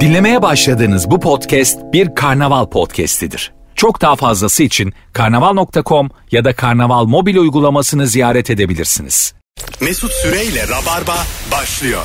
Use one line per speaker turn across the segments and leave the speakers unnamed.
Dinlemeye başladığınız bu podcast bir karnaval podcastidir. Çok daha fazlası için karnaval.com ya da karnaval mobil uygulamasını ziyaret edebilirsiniz.
Mesut Süreyle Rabarba başlıyor.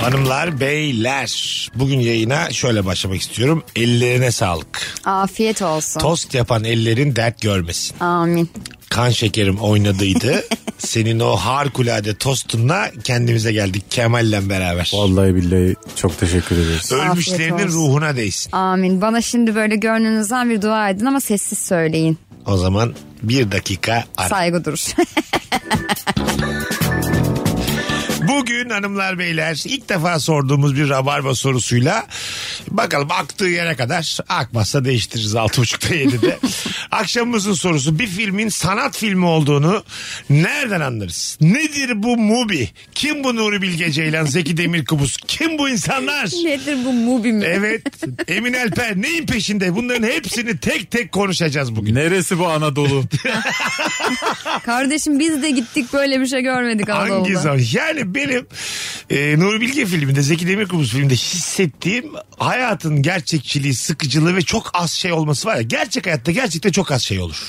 Hanımlar, beyler. Bugün yayına şöyle başlamak istiyorum. Ellerine sağlık.
Afiyet olsun.
Tost yapan ellerin dert görmesin.
Amin.
Kan şekerim oynadıydı. Senin o harikulade tostunla kendimize geldik Kemal'le beraber.
Vallahi billahi çok teşekkür ederiz.
Ölmüşlerinin
Afiyet olsun.
ruhuna değsin.
Amin. Bana şimdi böyle gönlünüzden bir dua edin ama sessiz söyleyin.
O zaman bir dakika ara.
Saygı durur.
Bugün hanımlar beyler ilk defa sorduğumuz bir rabarba sorusuyla bakalım aktığı yere kadar akmazsa değiştiririz 6.30'da 7'de. Akşamımızın sorusu bir filmin sanat filmi olduğunu nereden anlarız? Nedir bu Mubi? Kim bu Nuri Bilge Ceylan, Zeki Demirkubuz? Kim bu insanlar?
Nedir bu mubi mi?
Evet Emin Alper neyin peşinde? Bunların hepsini tek tek konuşacağız bugün.
Neresi bu Anadolu?
Kardeşim biz de gittik böyle bir şey görmedik
Hangi
Anadolu'da.
zaman? Yani benim e, Nuri Bilge filminde Zeki Demirkubuz filminde hissettiğim hayatın gerçekçiliği, sıkıcılığı ve çok az şey olması var ya. Gerçek hayatta gerçekten çok az şey olur.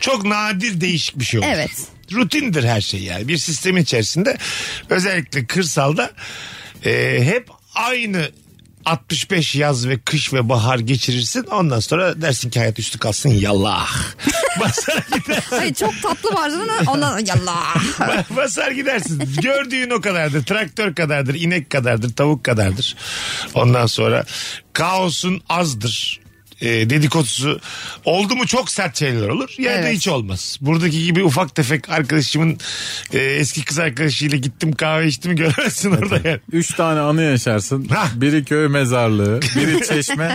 Çok nadir değişik bir şey olur.
Evet.
Rutindir her şey yani. Bir sistemin içerisinde özellikle kırsalda e, hep aynı 65 yaz ve kış ve bahar geçirirsin. Ondan sonra dersin ki hayat üstü kalsın yallah. Basar gidersin.
Hayır çok tatlı vardı ama ondan yallah.
Basar gidersin. Gördüğün o kadardır. Traktör kadardır, inek kadardır, tavuk kadardır. Ondan sonra kaosun azdır. E, dedikodusu oldu mu çok sert şeyler olur ya da
Evet.
hiç olmaz. Buradaki gibi ufak tefek arkadaşımın e, eski kız arkadaşıyla gittim kahve içtim göremezsin orada yani.
Üç tane anı yaşarsın.
Ha.
Biri köy mezarlığı, biri çeşme.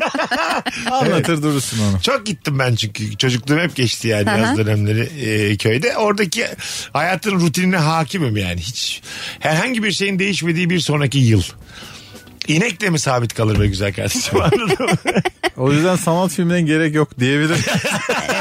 Anlatır durursun onu.
Çok gittim ben çünkü çocukluğum hep geçti yani yaz dönemleri e, köyde. Oradaki hayatın rutinine hakimim yani hiç. Herhangi bir şeyin değişmediği bir sonraki yıl. İnek de mi sabit kalır be güzel kardeşim anladın mı?
O yüzden sanat filmine gerek yok diyebilirim.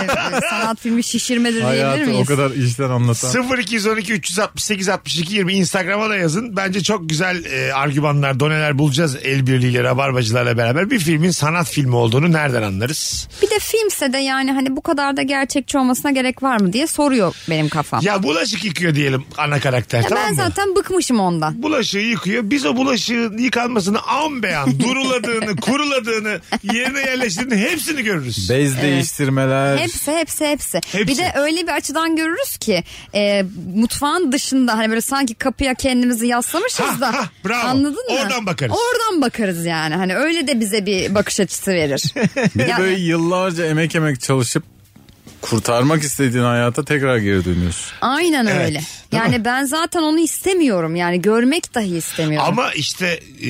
Evet, sanat filmi şişirmedir diyebilir
Hayatı o
miyiz?
kadar işten anlatan.
0212 368 62 20 Instagram'a da yazın. Bence çok güzel e, argümanlar, doneler bulacağız el birliğiyle, rabarbacılarla beraber. Bir filmin sanat filmi olduğunu nereden anlarız?
Bir de filmse de yani hani bu kadar da gerçekçi olmasına gerek var mı diye soruyor benim kafam.
Ya bulaşık yıkıyor diyelim ana karakter
Ya
tamam
ben
mı?
zaten bıkmışım ondan.
bulaşığı yıkıyor. Biz o bulaşığın yıkanmasını an beyan duruladığını, kuruladığını, yerine yerleştirdiğini hepsini görürüz.
Bez değiştirmeler.
Hepsi hepsi hepsi.
Hepsi.
Bir de öyle bir açıdan görürüz ki e, mutfağın dışında hani böyle sanki kapıya kendimizi yaslamışız
Ha,
da.
ha, bravo.
Anladın mı?
Oradan bakarız.
Oradan bakarız yani. Hani öyle de bize bir bakış açısı verir.
Bir de
Ya-
böyle yıllarca emek emek çalışıp kurtarmak istediğin hayata tekrar geri dönüyorsun.
Aynen
Evet,
öyle.
değil
Yani ben zaten onu istemiyorum. Yani görmek dahi istemiyorum.
Ama işte e,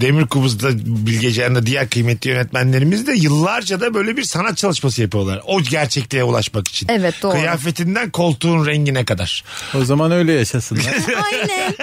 Demir Kubuz'da Bilge Ceylan'da diğer kıymetli yönetmenlerimiz de yıllarca da böyle bir sanat çalışması yapıyorlar. O gerçekliğe ulaşmak için.
Evet, doğru.
Kıyafetinden koltuğun rengine kadar.
O zaman öyle yaşasınlar.
Aynen.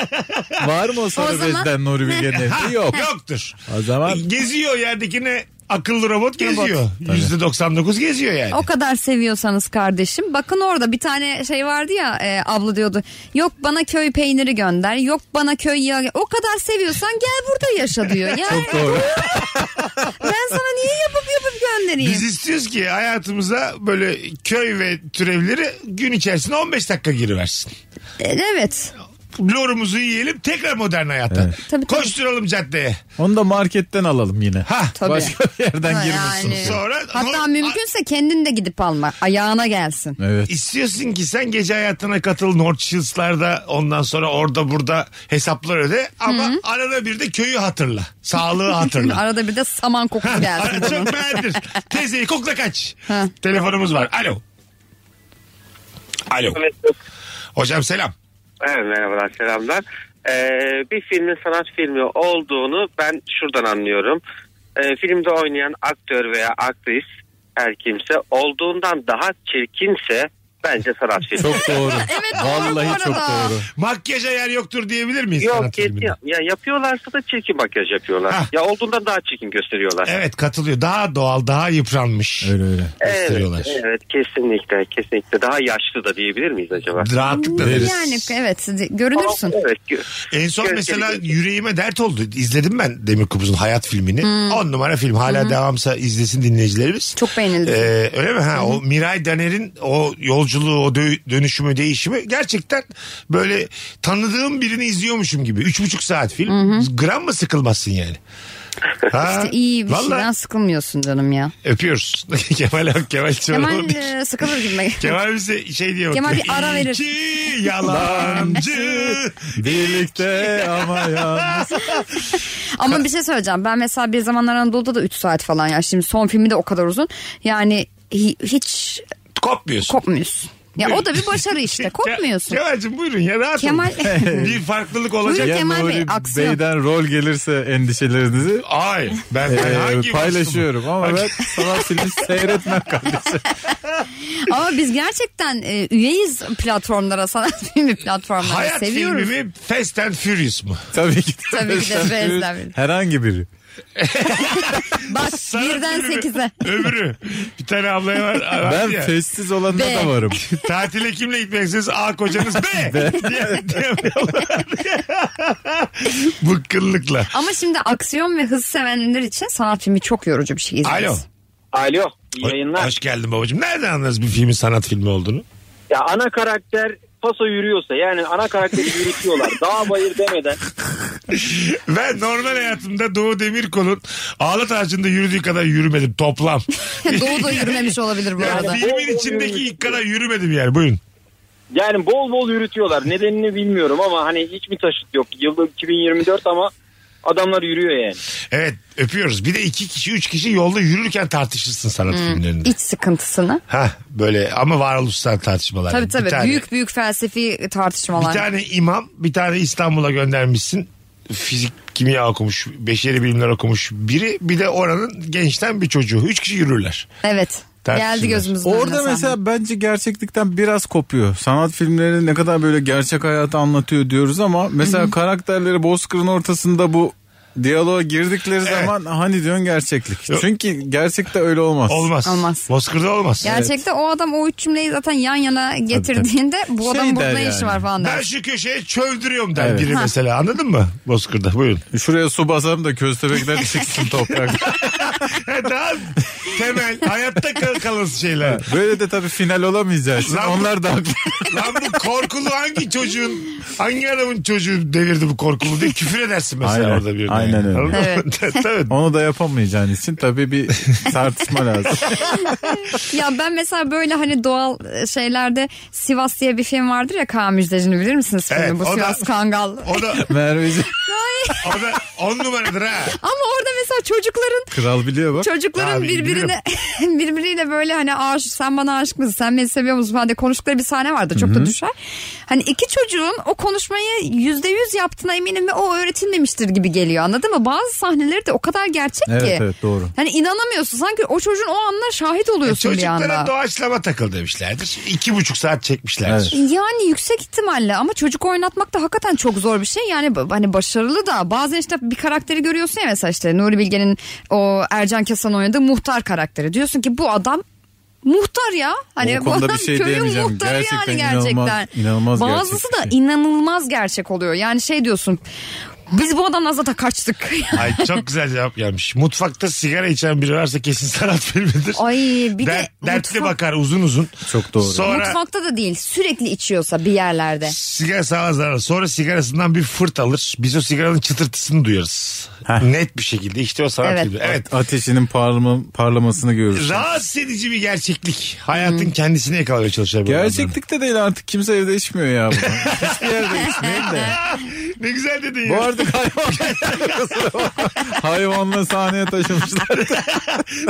Var mı o sarı
O zaman-
bezden Nuri Bilge'nin evde? Yok.
Yoktur. E,
O zaman
Geziyor yerdekine akıllı robot geziyor. Yüzde %99 geziyor yani.
O kadar seviyorsanız kardeşim. Bakın orada bir tane şey vardı ya e, abla diyordu. Yok bana köy peyniri gönder. Yok bana köy yağı. O kadar seviyorsan gel burada yaşa diyor. Yani
çok doğru.
ben sana niye yapıp yapıp göndereyim?
Biz istiyoruz ki hayatımıza böyle köy ve türevleri gün içerisinde 15 dakika giriversin.
E, Evet.
Lorumuzu yiyelim tekrar modern hayata.
Tabii, tabii.
Koşturalım caddeye.
Onu da marketten alalım yine.
Ha.
Tabii.
Başka bir yerden
Ha,
girmesin.
yani.
Sonra
Hatta
Nor-
mümkünse kendin de gidip alma. Ayağına gelsin.
Evet.
İstiyorsun ki sen gece hayatına katıl North Shields'larda ondan sonra orada burada hesaplar öde ama arada bir de köyü hatırla. Sağlığı hatırla.
Arada bir de saman kokusu gelsin. bunun.
Çok beğendir. Teyzeyi kokla kaç.
Ha.
Telefonumuz var. Alo. Alo.
Mesut.
Hocam selam.
Evet, merhabalar selamlar. Ee, bir filmin sanat filmi olduğunu ben şuradan anlıyorum. Ee, filmde oynayan aktör veya aktris her kimse olduğundan daha çirkinse Bence sanat filmi.
Çok doğru.
Evet, doğru bu
Vallahi çok
arada.
doğru.
Makyaja yer yoktur diyebilir miyiz? sanat
Yok
filminde?
yetiyor. Ya yapıyorlarsa da çirkin makyaj yapıyorlar.
Hah.
Ya olduğundan daha çirkin gösteriyorlar.
Evet katılıyor. Daha doğal, daha yıpranmış.
Öyle öyle.
gösteriyorlar.
Evet, evet kesinlikle kesinlikle daha yaşlı da diyebilir miyiz acaba?
Rahatlıkla deriz.
Yani evet görünürsün.
Evet. gö-
En son
Gösteri
mesela
gösteri.
yüreğime dert oldu. İzledim ben Demir Kubuz'un Hayat filmini. 10 numara film. Hala devamsa izlesin dinleyicilerimiz.
Hmm. Çok beğenildi.
Ee, öyle mi? Ha, o Miray Daner'in o yolculuğu, o dö- dönüşümü, değişimi gerçekten böyle tanıdığım birini izliyormuşum gibi. Üç buçuk saat film. Gram mı sıkılmazsın yani? Ha,
İşte iyi bir şey.
vallahi
şeyden sıkılmıyorsun canım ya.
öpüyoruz. Kemal Kemal Kemal,
Kemal e, sıkılır gibi.
Kemal bize şey diyor.
Kemal bir ara verir.
İki yalancı.
Birlikte ama ya.
Ama bir şey söyleyeceğim. Ben mesela bir zamanlar Anadolu'da da 3 saat falan ya. Şimdi son filmi de o kadar uzun. Yani hi- hiç
Kopmuyorsun.
kopmuyorsun. Ya o da bir başarı işte. Kopmuyorsun.
Ke- Kemal'cim buyurun ya rahat
Kemal
olun. bir farklılık olacak.
Buyurun.
Ya
Kemal Bey,
Nuri
aksiyon.
Bey'den rol gelirse endişelerinizi
Ay ben, ben
e,
hangi
paylaşıyorum ama
Hangi-
ben sanat filmi seyretmem kardeşim.
ama biz gerçekten e, üyeyiz platformlara, sanat filmi platformlara
Hayat
seviyoruz.
filmi mi Fast and Furious mu?
Tabii ki.
Tabii ki de
Fast and
Fast and
Furious.
Furious.
Herhangi biri.
Bak
Sanat
birden
filmi mi?
8'e.
Öbürü. Bir tane ablaya var. var
Ben
ya.
festsiz olanına
B.
da varım.
Tatile kimle gitmeksiniz? A kocanız B. diye, diyemiyorlar. Bıkkınlıkla.
Ama şimdi aksiyon ve hız sevenler için sanat filmi çok yorucu bir şey izleriz.
Alo.
Alo, iyi
Ho-
yayınlar.
Hoş geldin babacığım. Nereden anlarız bir filmin sanat filmi olduğunu?
Ya ana karakter paso yürüyorsa yani ana karakteri yürütüyorlar. Dağ bayır demeden.
Ben normal hayatımda Doğu Demirkol'un Ağlat Ağacı'nda yürüdüğü kadar yürümedim toplam.
Doğu da yürümemiş olabilir bu
Yani
arada.
filmin içindeki ilk kadar yürümedim yani buyurun.
Yani bol bol yürütüyorlar. Nedenini bilmiyorum ama hani hiç mi taşıt yok? Yılda 2024 ama adamlar yürüyor yani.
Evet öpüyoruz. Bir de iki kişi üç kişi yolda yürürken tartışırsın sanat
Hmm.
filmlerinde.
İç sıkıntısını.
Ha böyle ama varoluşsal tartışmalar.
Tabii
Bir
tabii.
tane-
Büyük büyük felsefi tartışmalar.
Bir tane imam bir tane İstanbul'a göndermişsin. Fizik kimya okumuş, beşeri bilimler okumuş biri. Bir de oranın gençten bir çocuğu. Üç kişi yürürler.
Evet.
Tartışılır.
Geldi gözümüzün önüne
Orada
sahne.
mesela bence gerçeklikten biraz kopuyor. Sanat filmleri ne kadar böyle gerçek hayatı anlatıyor diyoruz ama mesela karakterleri bozkırın ortasında bu diyaloğa girdikleri zaman hani diyorsun gerçeklik.
Yok.
Çünkü gerçekte öyle olmaz.
Olmaz.
Olmaz.
Bozkır'da olmaz.
Gerçekte o adam o üç cümleyi zaten yan yana getirdiğinde bu adamın
Şey
burada
der
ne işi
yani.
var falan
Ben
der.
şu köşeye çövdürüyorum der
Evet.
biri
Ha.
mesela anladın mı Bozkır'da buyurun.
Şuraya su basarım da köstebekler çıksın toprak.
Daha temel hayatta kal kalan şeyler.
Böyle de tabii final olamayacağı için
Lan bu-
onlar da haklı.
Lan bu korkulu hangi çocuğun hangi adamın çocuğu devirdi bu korkulu diye küfür edersin mesela
Aynen.
orada birine.
Aynen öyle.
Anladın mı? Tabii.
Onu da yapamayacağın için tabii bir tartışma lazım.
Ya ben mesela böyle hani doğal e, şeylerde Sivas diye bir film vardır ya Kaan Müjdeci'ni bilir misiniz filmi?
Evet,
bu
o da-
Sivas Kangal.
O da,
Merveci
o da on numaradır ha.
Ama orada mesela çocukların
kral biliyor bak.
çocukların
Abi,
birbirine birbiriyle böyle hani aşık sen bana aşık mısın sen beni seviyor musun falan diye konuştukları bir sahne vardı çok da düşer. Hani iki çocuğun o konuşmayı yüzde yüz yaptığına eminim ve o öğretilmemiştir gibi geliyor anladın mı? Bazı sahneleri de o kadar gerçek
Evet,
ki.
evet, doğru.
Hani inanamıyorsun sanki o çocuğun o anına şahit oluyorsun bir
Çocuklara
anda.
doğaçlama takıl demişlerdir. İki buçuk saat çekmişlerdir.
Yani yüksek ihtimalle ama çocuk oynatmak da hakikaten çok zor bir şey. Yani ba- hani başarılı da bazen işte bir karakteri görüyorsun ya mesela işte Nuri Bilge'nin o Ercan Kesan oynadığı muhtar karakteri. Diyorsun ki bu adam muhtar ya. Hani
O
bu
konuda
adam
bir şey
köyün
diyemeyeceğim.
muhtarı yani
Gerçekten
gerçekten.
inanılmaz- inanılmaz
Bazısı
gerçek bir
da
şey.
inanılmaz gerçek oluyor. Yani şey diyorsun biz bu adamdan zaten kaçtık.
Ay çok güzel cevap gelmiş. Mutfakta sigara içen biri varsa kesin sanat filmidir.
Ay bir de
Dert- dertli
mutfak-
bakar uzun uzun.
Çok doğru.
Sonra
mutfakta da değil sürekli içiyorsa bir yerlerde.
sigara sağlığa zararlı. Sonra sigarasından bir fırt alır. Biz o sigaranın çıtırtısını duyarız.
Heh.
Net bir şekilde işte o sanat
Evet.
filmi. Evet.
Ateşinin parma, parlamasını görürsün.
Rahatsız edici bir gerçeklik. Hayatın kendisini yakalamaya çalışıyor. bu adamlar.
Gerçeklikte değil artık kimse evde içmiyor ya bunu. Hiçbir yerde içmeyin de.
Ne güzel dedin ya.
Bu arada hayvan hayvanla sahneye taşımışlar.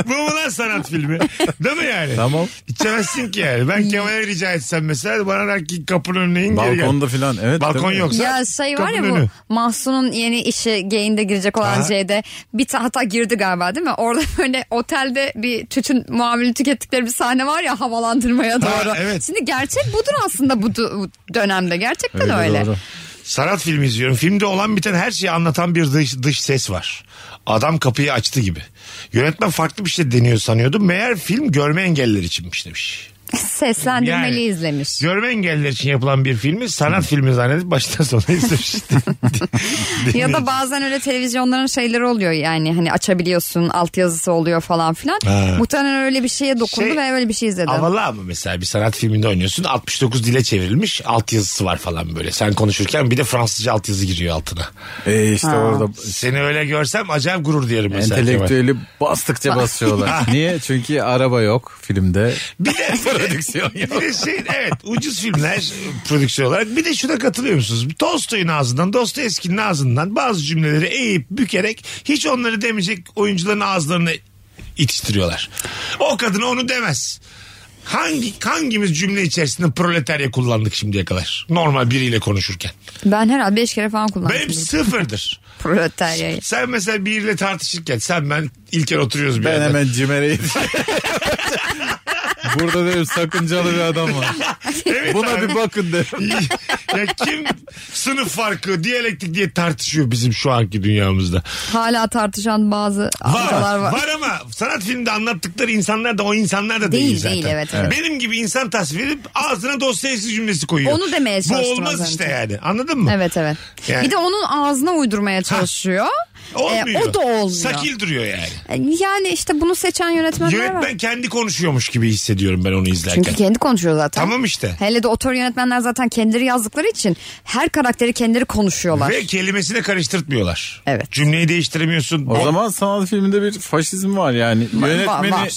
Bu mu lan sanat filmi? Değil mi yani?
tamam.
İçemezsin ki yani. Ben Kemal'e rica etsem mesela bana der ki kapının önüne in geri gel.
Balkonda filan. Evet.
Balkon
tabii.
yok.
Ya şey var ya
Kapının
bu
önü.
Mahsun'un yeni işi geyinde girecek olan
Aha.
şeyde bir ta- hata girdi galiba değil mi? Orada böyle otelde bir tütün muameli tükettikleri bir sahne var ya havalandırmaya doğru.
evet.
Şimdi gerçek budur aslında bu, du- bu dönemde gerçekten öyle.
doğru.
Sanat filmi izliyorum. Filmde olan biten her şeyi anlatan bir dış, dış ses var. Adam kapıyı açtı gibi. Yönetmen farklı bir şey deniyor sanıyordum. Meğer film görme engelliler içinmiş demiş. Yani-
Seslendirmeli izlemiş.
Görme engelliler için yapılan bir filmi sanat filmi zannedip baştan sona izlemiş.
Ya da bazen öyle televizyonların şeyleri oluyor yani hani açabiliyorsun altyazısı oluyor falan filan.
Ha.
Muhtemelen öyle bir şeye dokundu
Şey,
ve öyle bir şey izledim.
Avala ama mesela bir sanat filminde oynuyorsun 69 dile çevrilmiş altyazısı var falan böyle. Sen konuşurken bir de Fransızca altyazı giriyor altına.
E işte orada
Seni öyle görsem acayip gurur duyarım mesela. Kemal.
entelektüeli bastıkça basıyorlar. Niye? Çünkü araba yok filmde.
Bir de
Prodüksiyon
Bir
yok.
de şey, evet ucuz filmler prodüksiyon olarak. Bir de şuna katılıyor musunuz? Tolstoy'un ağzından, Dostoyevski'nin ağzından bazı cümleleri eğip bükerek hiç onları demeyecek oyuncuların ağızlarına itiştiriyorlar. O kadın onu demez. Hangi hangimiz cümle içerisinde proletarya kullandık şimdiye kadar? Normal biriyle konuşurken.
Ben herhalde 5 kere falan
Benim
kullandım.
sıfırdır.
Proletaryayı.
Sen mesela biriyle tartışırken sen ben İlker oturuyoruz bir
Ben
yerde.
hemen cimereyim. Burada dedim sakıncalı bir adam var.
Evet
Buna
abi.
bir bakın derim.
ya kim sınıf farkı, diyalektik diye tartışıyor bizim şu anki dünyamızda.
Hala tartışan bazı
Var,
amcalar
var.
var.
ama sanat filmde anlattıkları insanlar da o insanlar da değil,
Değil,
zaten.
değil, evet, evet.
Benim gibi insan tasvir edip ağzına dosyaysı cümlesi koyuyor.
Onu demeye çalıştım
Bu olmaz
az önce.
işte yani anladın mı?
Evet evet.
Yani-
Bir de onun ağzına uydurmaya çalışıyor. Ee,
Olmuyor.
o da olmuyor. E,
Sakil duruyor yani.
Yani işte bunu seçen yönetmenler var.
Yönetmen kendi konuşuyormuş gibi hissediyorum ben onu izlerken.
Çünkü kendi konuşuyor zaten.
Tamam işte.
Hele de otor yönetmenler zaten kendileri yazdıkları için her karakteri kendileri konuşuyorlar.
Ve kelimesini karıştırtmıyorlar.
Evet.
Cümleyi değiştiremiyorsun.
O zaman sanat filminde bir faşizm var yani. Yönetmeni
var.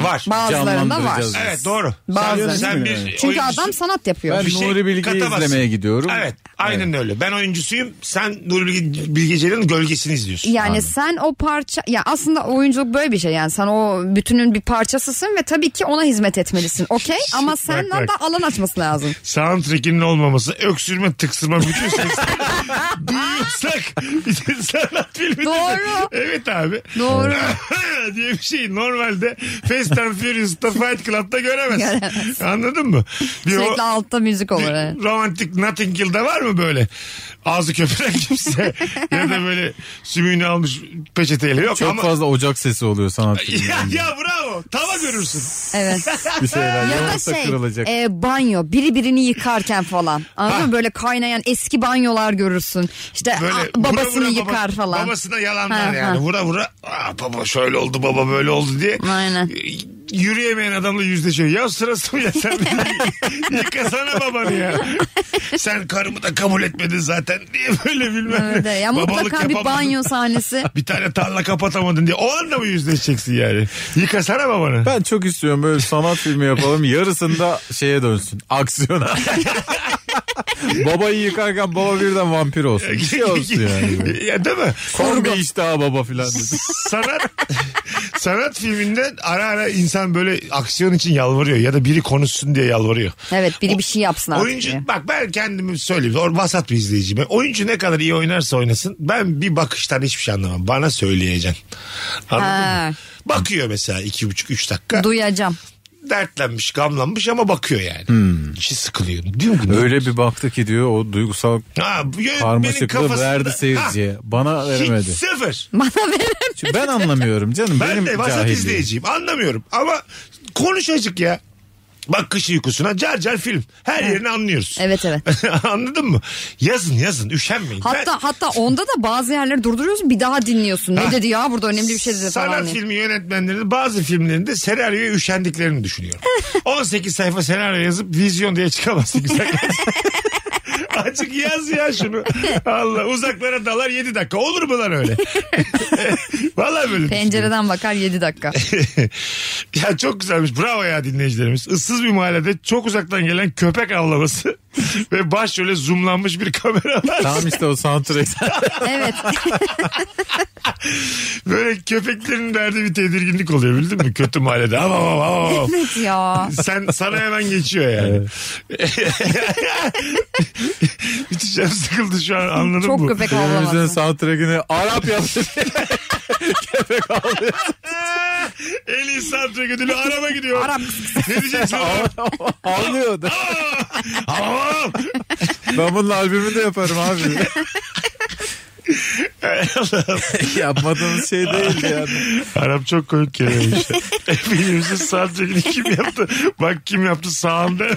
var.
Bazılarında var.
Canlandıracağız.
Evet doğru.
Bazı.
Sen, sen bir
Çünkü
oyuncusun.
adam sanat yapıyor.
E, Ben
Bir şey
Nuri Bilge'yi
katamazsın.
izlemeye gidiyorum.
Evet aynen öyle. Ben oyuncusuyum. Sen Nuri Bilge, Bilge Ceylan'ın gölgesini izliyorsun.
Yani sen o parça ya aslında oyunculuk böyle bir şey yani sen o bütünün bir parçasısın ve tabii ki ona hizmet etmelisin okey ama senden
bak.
de alan açması lazım.
Soundtrack'inin olmaması, öksürme, tıksırma bütün sesleri duyuyorsak sanat filmi.
Doğru.
Evet abi.
Doğru.
diye bir şey normalde Fast and Furious'ta Fight Club'da göremezsin.
Göremezsin.
Anladın mı? Bir o-
Sürekli altta müzik olur. evet.
Bir romantik Nothing Hill'de var mı böyle? Ağzı köpüren kimse ya da böyle sümüğünü almış peçeteyle yok
Çok
ama...
fazla ocak sesi oluyor sanat filminde.
Ya, ya bravo. Tava görürsün.
Evet.
bir şeyler
ya da
yoksa
şey
kırılacak.
e, banyo biri birini yıkarken falan anladın mı böyle kaynayan eski banyolar görürsün işte
Böyle
a-
vura
babasını
vura baba-
yıkar falan.
Babasına yalanlar
Ha,
yani.
ha.
Vura vura. Aa, baba şöyle oldu baba böyle oldu diye.
Aynen.
Y- Yürüyemeyen adamla yüzleşiyor. Ya sırası mı ya sen? bir- Yıkasana babanı ya. sen karımı da kabul etmedin zaten diye böyle bilmem ne.
Evet, ya mutlaka bir
yapamadın.
banyo sahnesi.
Bir tane tarla kapatamadın diye. O anda mı yüzleşeceksin yani? Yıkasana babanı.
Ben çok istiyorum böyle bir sanat filmi yapalım. Yarısında şeye dönsün. Aksiyona. Babayı yıkarken baba birden vampir olsun. Bir şey olsun yani.
ya değil mi?
Son bir iş daha baba filan.
sanat sanat filminde ara ara insan böyle aksiyon için yalvarıyor ya da biri konuşsun diye yalvarıyor.
Evet biri
O-
bir şey yapsın artık.
Oyuncu
diye.
bak ben kendimi söyleyeyim. Or, vasat bir izleyiciyim. Oyuncu ne kadar iyi oynarsa oynasın ben bir bakıştan hiçbir şey anlamam. Bana söyleyeceksin. Anladın
Ha.
mı? Bakıyor mesela iki buçuk üç dakika.
Duyacağım.
dertlenmiş gamlanmış ama bakıyor yani. İşi sıkılıyor. Diyor ki, ne-
Hmm. Öyle bir baktı ki diyor o duygusal
Ha, bu yönetmenin
karmaşıklığı
kafasında-
verdi seyirciye. Bana
Ha, hiç
veremedi.
sıfır.
Bana verin.
Çünkü ben anlamıyorum canım.
Ben
benim
de vasat
cahilliğim.
izleyiciyim. Anlamıyorum ama konuşacık ya. Bak kış uykusuna car car film. Her yerini anlıyoruz.
Evet evet.
Anladın mı? Yazın yazın üşenmeyin.
Hatta
Ben-
hatta onda da bazı yerleri durduruyorsun bir daha dinliyorsun. Ne
Ha.
dedi ya burada önemli bir şey dedi falan.
Sanat
diye.
filmi yönetmenlerinin bazı filmlerinde senaryoya üşendiklerini düşünüyorum. 18 sayfa senaryo yazıp vizyon diye çıkamazsın güzel kardeşim. Açık yaz ya şunu. Allah uzaklara dalar 7 dakika. Olur mu lan öyle? Vallahi böyle. düşünüyorum.
Pencereden bakar 7 dakika.
ya çok güzelmiş. Bravo ya dinleyicilerimiz. Issız bir mahallede çok uzaktan gelen köpek avlaması Ve baş şöyle zoomlanmış bir kamera var.
Tamam işte o soundtrack.
Evet.
Böyle köpeklerin verdiği bir tedirginlik oluyor bildin mi? Kötü mahallede. Ama ama ama.
evet ya.
Sen sana hemen geçiyor yani. İçişem sıkıldı şu an anladım
Çok
bu.
köpek
Filmimizin
avlaması.
soundtrackini Arap yaptı.
En iyi soundtrack ödülü araba gidiyor.
Arap.
Ne diyeceksin?
Ağlıyordu.
Aman!
Ben bunun albümü de yaparım abi. Yapmadığınız şey değil yani.
Arap çok komik geliyor işte. Filmimizin soundtrackini kim yaptı? Bak kim yaptı sağımda.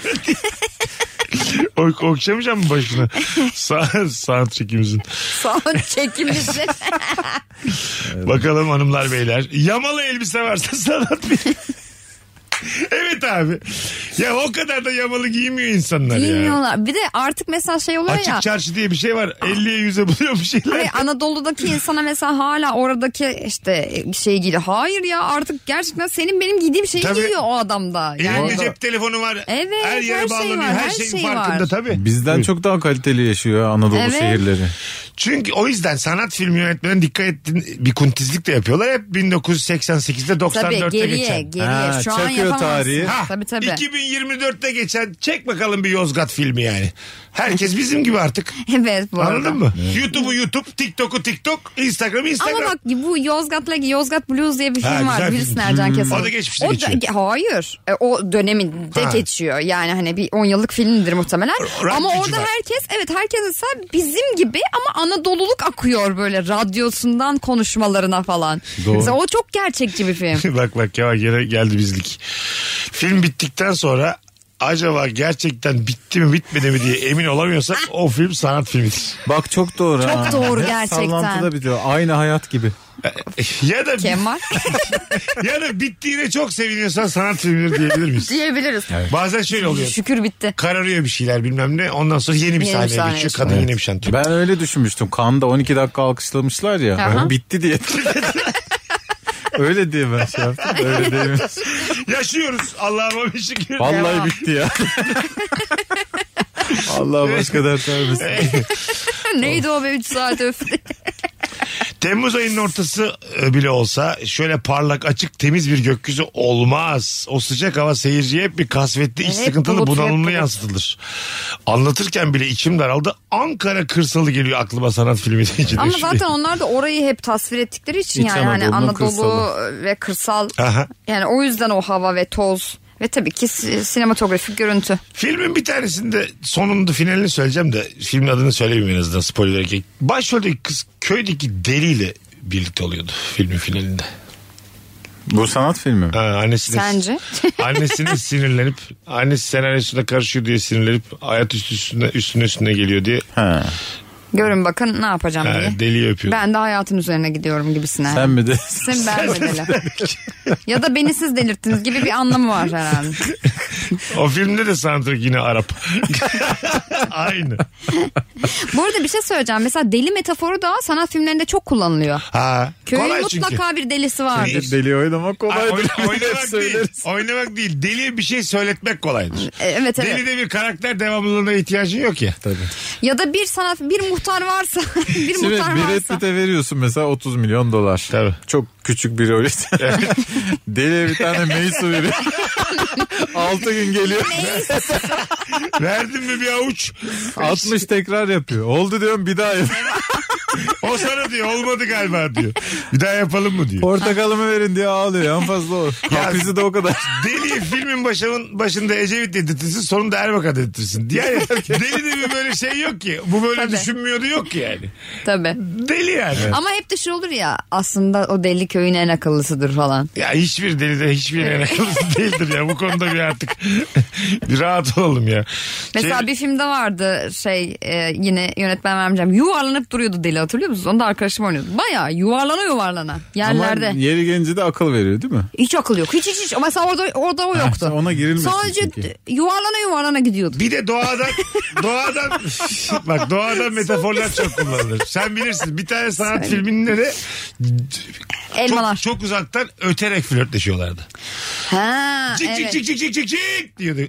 Ok okşamayacak mı başını? Sa soundtrack'imizin.
Son çekimimizi.
Bakalım hanımlar beyler. Yamalı elbise varsa sanat bir. evet abi. Ya o kadar da yamalı giymiyor insanlar ya.
Bilmiyorlar. Bir de artık mesela şey oluyor
Açık
ya.
çarşı diye bir şey var. 50'ye 100'e buluyor bir şeyler.
Hani Anadolu'daki insana mesela hala oradaki işte şey giyiyor. Hayır ya artık gerçekten senin benim giydiğim şeyi
Tabii.
giyiyor o adam da. Yani
Elinde cep telefonu var.
Evet,
her yere
her şey
bağlanıyor.
var,
her,
her
şeyin
şey
farkında
var.
tabii.
Bizden çok daha kaliteli yaşıyor Anadolu
Evet.
şehirleri.
Çünkü o yüzden sanat filmi yönetmenine dikkat ettin bir kuntizlik de yapıyorlar. Hep 1988'de
tabii
94'te
geriye
geçen.
geriye
Ha,
şu an
çakıyor
yapamazsın.
tarihi.
Ha,
Tabii tabii.
2024'te geçen çek bakalım bir Yozgat filmi yani. Herkes bizim gibi artık.
Evet bu arada.
Anladın mı? YouTube'u YouTube, TikTok'u TikTok, Instagram'ı Instagram.
Ama bak bu Yozgat'la Yozgat Blues diye bir
Ha,
film
güzel
var.
film.
Gülsün Ercan Kesal.
O da geçmişte
O da-
geçiyor.
ge- hayır. E, o döneminde
Ha.
geçiyor. Yani hani bir 10 yıllık filmdir muhtemelen.
Rock
ama
gücü
orada
var.
herkes evet herkes mesela bizim gibi ama Anadolu'luk akıyor böyle radyosundan konuşmalarına falan.
Doğru.
Mesela o çok gerçekçi bir film.
bak bak ya gene geldi bizlik. Film bittikten sonra acaba gerçekten bitti mi bitmedi mi diye emin olamıyorsak o film sanat filmidir.
Bak çok doğru. Çok
doğru gerçekten.
Sallantıda bitiyor. Aynı hayat gibi.
ya da
Kemal
ya da bittiğine çok seviniyorsan sanat filmidir diyebilir miyiz?
diyebiliriz.
Bazen şöyle oluyor.
Şükür bitti.
Kararıyor bir şeyler bilmem ne. Ondan sonra yeni bir
Yeni bir
sahneye
sahneye
geçiyor.
geçiyor.
Kadın yeni bir şey şantıyor.
Ben öyle düşünmüştüm. Kanda 12 dakika alkışlamışlar ya.
Aha.
O bitti diye. öyle diye ben şey yaptım. da Öyle değil
Yaşıyoruz. Allah'ıma bir şükür.
Vallahi
Devam.
bitti ya. Allah başka dert vermesin.
Neydi o be 3 saat öf.
Temmuz ayının ortası e, bile olsa şöyle parlak açık temiz bir gökyüzü olmaz. O sıcak hava seyirciye hep bir kasvetli iç
Hep
sıkıntılı
bulut, hep
bunalımlı
bulut.
yansıtılır. Anlatırken bile içim daraldı. Ankara kırsalı geliyor aklıma sanat filmi deyince.
Ama
de.
zaten onlar da orayı hep tasvir ettikleri için
İç
yani hani
Anadolu'nun
Anadolu
kırsalı.
ve kırsal.
Aha.
Yani o yüzden o hava ve toz ve tabii ki si- sinematografik görüntü.
Filmin bir tanesinde sonunda finalini söyleyeceğim de filmin adını söylemeyeyim en azından spoiler erkek. Başroldeki kız köydeki deliyle birlikte oluyordu filmin finalinde.
Bu sanat filmi mi?
Ha, annesine,
Sence?
Annesine sinirlenip annesi senaryosuna karışıyor diye sinirlenip hayat üstü üstüne, üstüne üstüne geliyor diye
Ha.
Görün bakın ne yapacağım
ha,
diye.
deliyi öpüyor.
Hani? Ben de hayatın üzerine gidiyorum gibisine.
Sen mi de?
Sen ben mi deli? ya da beni siz delirttiniz gibi bir anlamı var herhalde.
O filmde de soundtrack yine Arap. Aynı.
Bu arada bir şey söyleyeceğim. Mesela deli metaforu da sanat filmlerinde çok kullanılıyor.
Ha,
Köyün
kolay çünkü.
mutlaka bir delisi vardır.
Deli oynamak
Ay,
kolaydır.
oyna-
Hep
oynamak değil.
söyleriz.
Oynamak değil. Deliye bir şey söyletmek kolaydır.
E, Evet evet.
Delide bir karakter devamlılığına ihtiyacın yok ya.
Tabii.
Ya da bir sanat bir muhtar varsa bir
Şimdi
muhtar
bir
varsa.
Pitt'e veriyorsun mesela 30 milyon dolar.
Tabii.
Çok küçük bir öğret. Deliye bir tane meysu veriyor. 6 gün geliyor.
Verdin mi bir avuç?
60 tekrar yapıyor. Oldu diyorum bir daha yap.
O sana diyor olmadı galiba diyor. Bir daha yapalım mı diyor.
Portakalımı verin diye ağlıyor. En fazla o. Kaprisi de o kadar.
Deli filmin başının, başında Ecevit dedirtirsin sonunda Erbakan dedirtirsin. Yani deli de bir böyle şey yok ki. Bu böyle
Tabii.
düşünmüyordu yok ki yani.
Tabii.
Deli yani.
Ama hep de şu olur ya aslında o deli köyün en akıllısıdır falan.
Ya hiçbir deli de hiçbir en akıllısı değildir ya. Bu konuda bir artık bir rahat olalım ya.
Mesela
Şey-
bir filmde vardı şey e, yine yönetmen vermeyeceğim. Yuvarlanıp duruyordu deli hatırlıyor musunuz? Onu da arkadaşım oynuyordu. Baya yuvarlana yuvarlana yerlerde.
Ama yeri gelince de akıl veriyor değil mi?
hiç akıl yok. Hiç hiç hiç. Mesela orada, orada o yoktu.
ona girilmesin
Sadece
çünkü.
yuvarlana yuvarlana gidiyordu.
Bir de doğadan doğadan bak doğadan metaforlar çok kullanılır. Sen bilirsin. Bir tane sanat filminde de
Elmalar.
Çok, çok uzaktan öterek flörtleşiyorlardı.
Ha,
Cik
evet.
cik cik cik cik cik cik diyordu.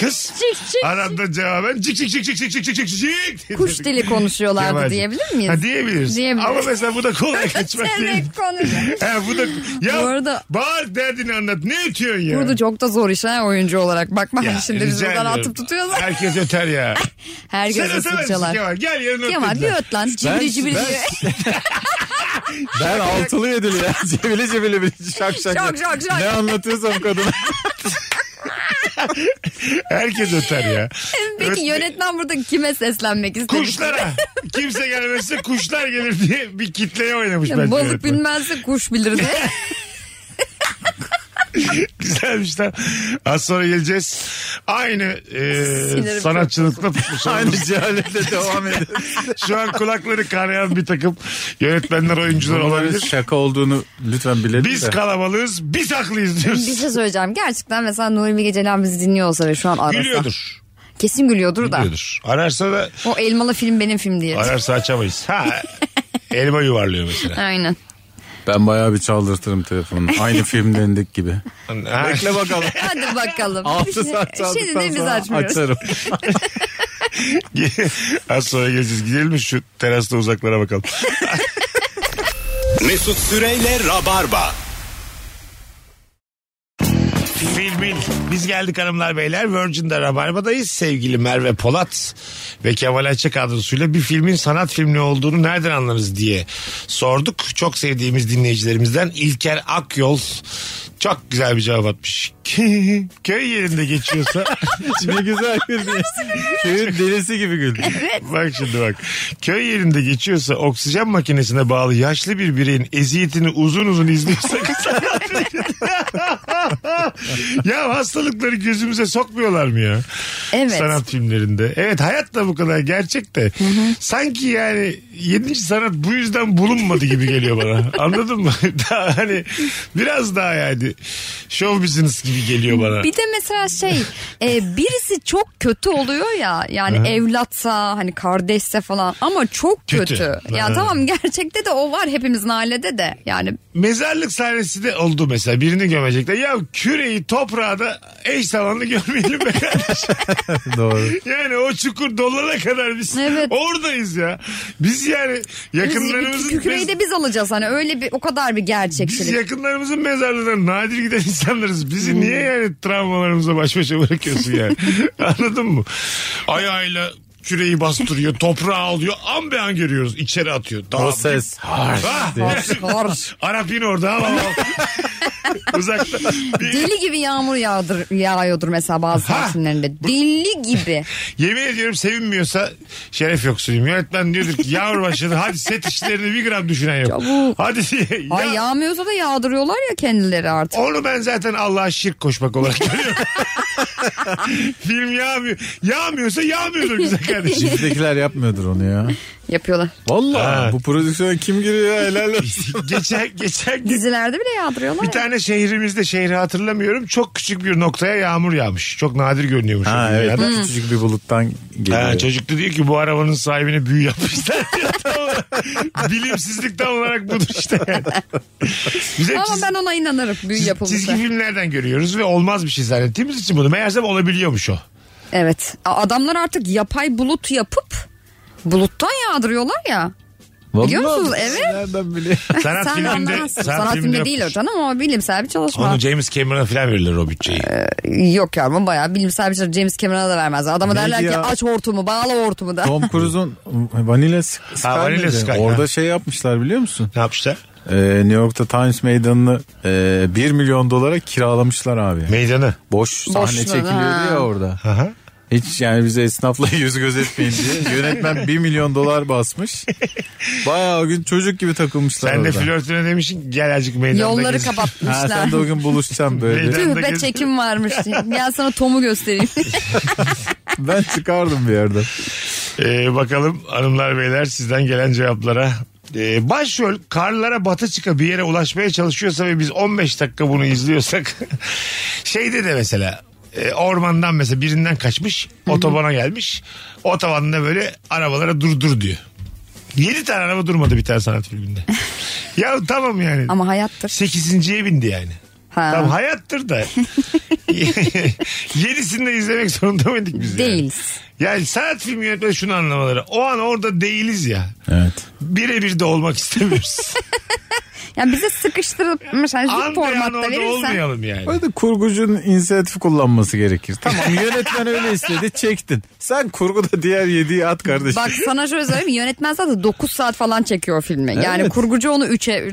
Kız
Cik cik cik.
arada cevaben cik cik cik cik cik cik cik cik cik diyordu.
Kuş dili konuşuyorlardı
Kemal'cim.
diyebilir miyiz?
Ha, diyebiliriz.
Diyebiliriz.
Ama mesela bu da kolay kaçmak değil.
Çevrek konuşuyor.
Ha, bu da, ya
Bu arada-
bağır derdini anlat. Ne ötüyorsun ya?
Burada çok da zor iş ha oyuncu olarak. Bakma
Ya,
şimdi biz
rica
buradan
ediyorum.
atıp tutuyoruz.
Herkes öter ya.
Her
Sen
göz
ötemezsin
ısırtıyorlar.
Kemal. Gel yarın öt
Kemal bir
dediler.
öt lan. Cibri cibri
ben-
diye.
Ben altılı yedili ya. Cebili cebili bir şak şak.
Şak şak şak.
Ne anlatıyorsam kadın.
Herkes öter ya.
Peki
Ötme-
yönetmen burada kime seslenmek istedi?
Kuşlara. Kimse gelmezse kuşlar gelir diye bir kitleye oynamış
Ya,
bence.
Balık
yönetmen.
bilmezse kuş bilir diye.
Güzelmiş lan. Az sonra geleceğiz. Aynı e,
Sinirim
sanatçılıkla
Aynı cehaletle devam ediyor.
şu an kulakları kanayan bir takım yönetmenler, oyuncular
Bunların
olabilir.
şaka olduğunu lütfen bilelim
Biz
de.
kalabalığız, biz haklıyız diyoruz.
bir şey söyleyeceğim. Gerçekten mesela Nuri Bilge Ceylan bizi dinliyor olsa ve şu an arasa.
Gülüyordur.
Kesin gülüyordur da.
Gülüyordur. Ararsa da
O elmalı film benim film diye.
ararsa açamayız. Ha. Elma yuvarlıyor mesela.
Aynen.
Ben bayağı bir çaldırtırım telefonunu. Aynı filmlerindeki gibi.
Ha.
Bekle bakalım.
Hadi bakalım.
6 saat
Şimdi de
çaldıktan
biz
sonra
açmıyoruz.
açarım.
Az sonra geleceğiz. Gidelim mi şu terasta uzaklara bakalım.
Mesut Süreyle Rabarba.
Filmin. Biz geldik hanımlar beyler. Virgin'de Rabarba'dayız. Sevgili Merve Polat ve Kemal Ayça kadrosuyla bir filmin sanat filmi olduğunu nereden anlarız diye sorduk. Çok sevdiğimiz dinleyicilerimizden İlker Akyol çok güzel bir cevap atmış. Köy yerinde geçiyorsa
ne güzel güldü. Köyün delisi gibi güldü.
bak şimdi bak. Köy yerinde geçiyorsa oksijen makinesine bağlı yaşlı bir bireyin eziyetini uzun uzun izliyorsak ya hastalıkları gözümüze sokmuyorlar mı ya?
Evet.
Sanat filmlerinde. Evet hayat da bu kadar gerçek de. Sanki yani 7. sanat bu yüzden bulunmadı gibi geliyor bana. Anladın mı? Daha hani biraz daha yani show business gibi geliyor bana.
Bir de mesela şey e, birisi çok kötü oluyor ya yani evlatsa hani kardeşse falan ama çok
Kötü.
kötü.
Aha.
Ya tamam gerçekte de o var hepimizin ailede de yani
Mezarlık sahnesi de oldu mesela. Birini gömecekler. Ya küreyi toprağa da eş zamanlı gömeyelim be kardeş.
Doğru.
yani o çukur dolana kadar biz
Evet.
oradayız ya. Biz yani
biz,
yakınlarımızın...
küreyi
biz-
de biz alacağız hani öyle bir o kadar bir
Biz
gerçekçilik.
yakınlarımızın mezarlığına nadir giden insanlarız. Bizi
Hmm.
niye yani travmalarımıza baş başa bırakıyorsun yani? Anladın mı? Ayağıyla küreyi bastırıyor, toprağı alıyor. An be an görüyoruz. içeri atıyor. Daha-
O ses.
Ah!
Harf, harf.
Arap yine orada ama uzakta. Bir-
Deli gibi yağmur yağdır, yağıyordur mesela bazı
Ha.
sakinlerinde. Deli gibi.
Yemin ediyorum sevinmiyorsa şeref yoksunuyum. Yönetmen diyordur ki yavru başladı hadi set işlerini bir gram düşünen yok.
Çabuk.
Hadi
Ay
Ya-
yağmıyorsa da yağdırıyorlar ya kendileri artık.
Onu ben zaten Allah'a şirk koşmak olarak görüyorum. Film yağmıyor. Yağmıyorsa yağmıyordur güzel kardeşim.
Bizdekiler yapmıyordur onu ya.
Yapıyorlar.
Vallahi
Ha.
bu prodüksiyona kim giriyor ya helal olsun.
geçen, geçen gün
Dizilerde bile yağdırıyorlar
bir
ya.
tane şehrimizde şehri hatırlamıyorum. Çok küçük bir noktaya yağmur yağmış. Çok nadir görünüyormuş.
Ha
o
evet
dünyada.
küçücük bir buluttan geliyor.
Hmm. Ha, çocuk da diyor ki bu arabanın sahibine büyü yapmışlar. Tam olarak- Bilimsizlik tam olarak budur işte. yani. Bize
Ama
çiz-
ben ona inanırım büyü
çizgi
yapılmışsa.
filmlerden görüyoruz ve olmaz bir şey zannettiğimiz için bunu. Meğersem olabiliyormuş o.
Evet. A- Adamlar artık yapay bulut yapıp buluttan yağdırıyorlar ya. biliyor
Vallahi
musunuz? Evet.
Nereden biliyor?
Sanat
Sen
filminde,
anlamazsın.
sanat
Sanat, filmi
filminde
değil o
yokmuş.
canım ama bilimsel bir çalışma.
Onu James Cameron'a falan verirler o bütçeyi.
Ee, Yok ya ama bayağı bilimsel bir çalışma. James Cameron'a da vermez. Adama
Ne
derler ki
ya?
aç hortumu bağla hortumu da.
Tom Cruise'un Vanilla Sky,
Ha, Vanilla
miydi?
Sky,
Orada
ha.
şey yapmışlar biliyor musun?
ne yapmışlar?
Ee, New York'ta Times Meydanı'nı e, 1 milyon dolara kiralamışlar abi.
Meydanı.
Boş sahne
Boşlar,
çekiliyordu
ha.
ya orada.
Aha.
Hiç yani bize esnafla yüz göz etmeyin diye. Yönetmen 1 milyon dolar basmış. Bayağı o gün çocuk gibi takılmışlar
Sen
orada.
de flörtüne demişsin ki, gel azıcık meydanda
Yolları
gez.
Ha,
kapatmışlar.
sen de o gün buluşacağım böyle.
Meydan-
Tüh
Gezin.
be çekim varmış. Gel sana Tom'u göstereyim.
ben çıkardım bir yerden.
Ee, bakalım hanımlar beyler sizden gelen cevaplara. Ee, başrol karlara batı çıka bir yere ulaşmaya çalışıyorsa ve biz 15 dakika bunu izliyorsak şeyde de mesela e, ormandan mesela birinden kaçmış otobana gelmiş otobanda böyle arabalara dur dur diyor. 7 tane araba durmadı bir tane sanat filminde. ya tamam yani.
Ama hayattır.
Sekizinciye bindi yani.
Ha.
Tam hayattır da. Yenisini de izlemek zorunda mıydık biz? yani?
Değiliz.
Yani, sanat filmi yönetmeni şunu anlamaları. O an orada değiliz ya.
Evet.
Birebir de olmak istemiyoruz.
Yani bize sıkıştırılmış hani zıt
an be an
formatta
orada
verirsen.
olmayalım yani.
Orada kurgucunun inisiyatifi kullanması gerekir. Tamam yönetmen öyle istedi çektin. Sen kurguda diğer yediği at kardeşim.
Bak sana şöyle söyleyeyim yönetmen zaten 9 saat falan çekiyor filmi. Yani
Evet.
kurgucu onu 3'e.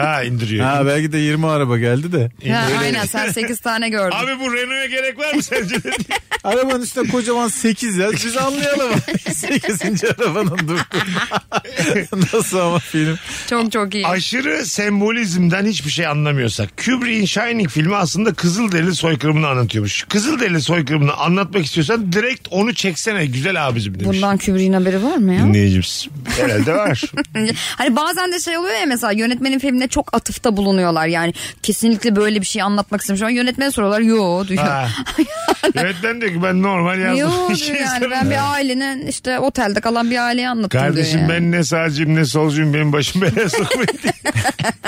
Ha indiriyor.
Ha belki de 20 araba geldi de.
Ha, aynen sen 8 tane gördün.
Abi bu Renault'a gerek var mı sence?
Arabanın üstüne kocaman 8 yaz. Biz anlayalım. 8. arabanın durduğunu. Nasıl ama film?
Çok çok iyi.
Aşırı sembolizmden hiçbir şey anlamıyorsak. Kubrick'in Shining filmi aslında Kızılderili soykırımını anlatıyormuş. Kızılderili soykırımını anlatmak istiyorsan direkt onu çeksene güzel abicim demiş.
Bundan Kübri'nin haberi var mı ya?
Dinleyicimiz. Herhalde var.
Hani bazen de şey oluyor ya mesela yönetmenin filmine çok atıfta bulunuyorlar. Yani kesinlikle böyle bir şey anlatmak istemiş. Ama yönetmene soruyorlar yo diyor.
Ha. Yönetmen diyor ki ben normal yazdım.
Yo
Bir şey
diyor yani ben
sanırım.
bir ailenin işte otelde kalan bir aileyi anlattım
Kardeşim
diyor yani.
ben ne sağcıyım ne solcuyum benim başım belaya sokmayın.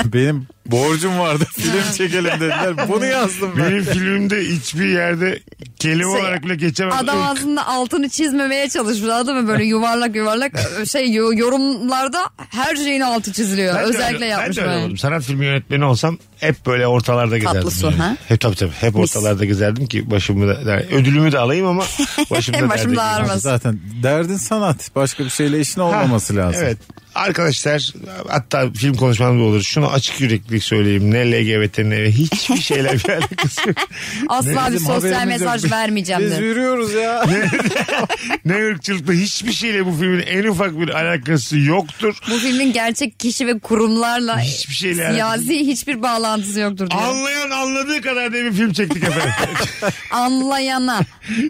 Benim borcum vardı. Film çekelim dediler. Bunu yazdım ben.
benim filmimde hiçbir yerde kelime
Şey,
olarak bile geçemem.
Adam ağzında altını çizmemeye çalışmış anladın mı? Böyle yuvarlak yuvarlak şey yo- yorumlarda her şeyin altı çiziliyor.
Ben de
Özellikle
öyle-
yapmış
Ben de öyle
böyle.
oldum. Sanat filmi yönetmeni olsam hep böyle ortalarda gezerdim.
Tatlısu,
yani.
ha?
Hep tabii tabii. Hep ortalarda gezerdim ki başımı da, yani ödülümü de alayım ama başımda
Başım da ağrımasın.
Abi Zaten derdin sanat. Başka bir şeyle işin olmaması lazım.
Evet. Arkadaşlar hatta film konuşmamız da olur. Şunu açık yüreklilik söyleyeyim. Ne LGBT ne hiçbir şeyle bir alakası yok.
Asla bir
Bizim
sosyal
haberimiz yok.
mesaj vermeyeceğim
Biz
dedi.
yürüyoruz ya.
ne ırkçılıkla hiçbir şeyle bu filmin en ufak bir alakası yoktur.
Bu filmin gerçek kişi ve kurumlarla
Hiçbir şeyle alakası.
siyasi hiçbir bağlantısı yoktur diyor.
Anlayan anladığı kadar diye bir film çektik efendim.
Anlayana.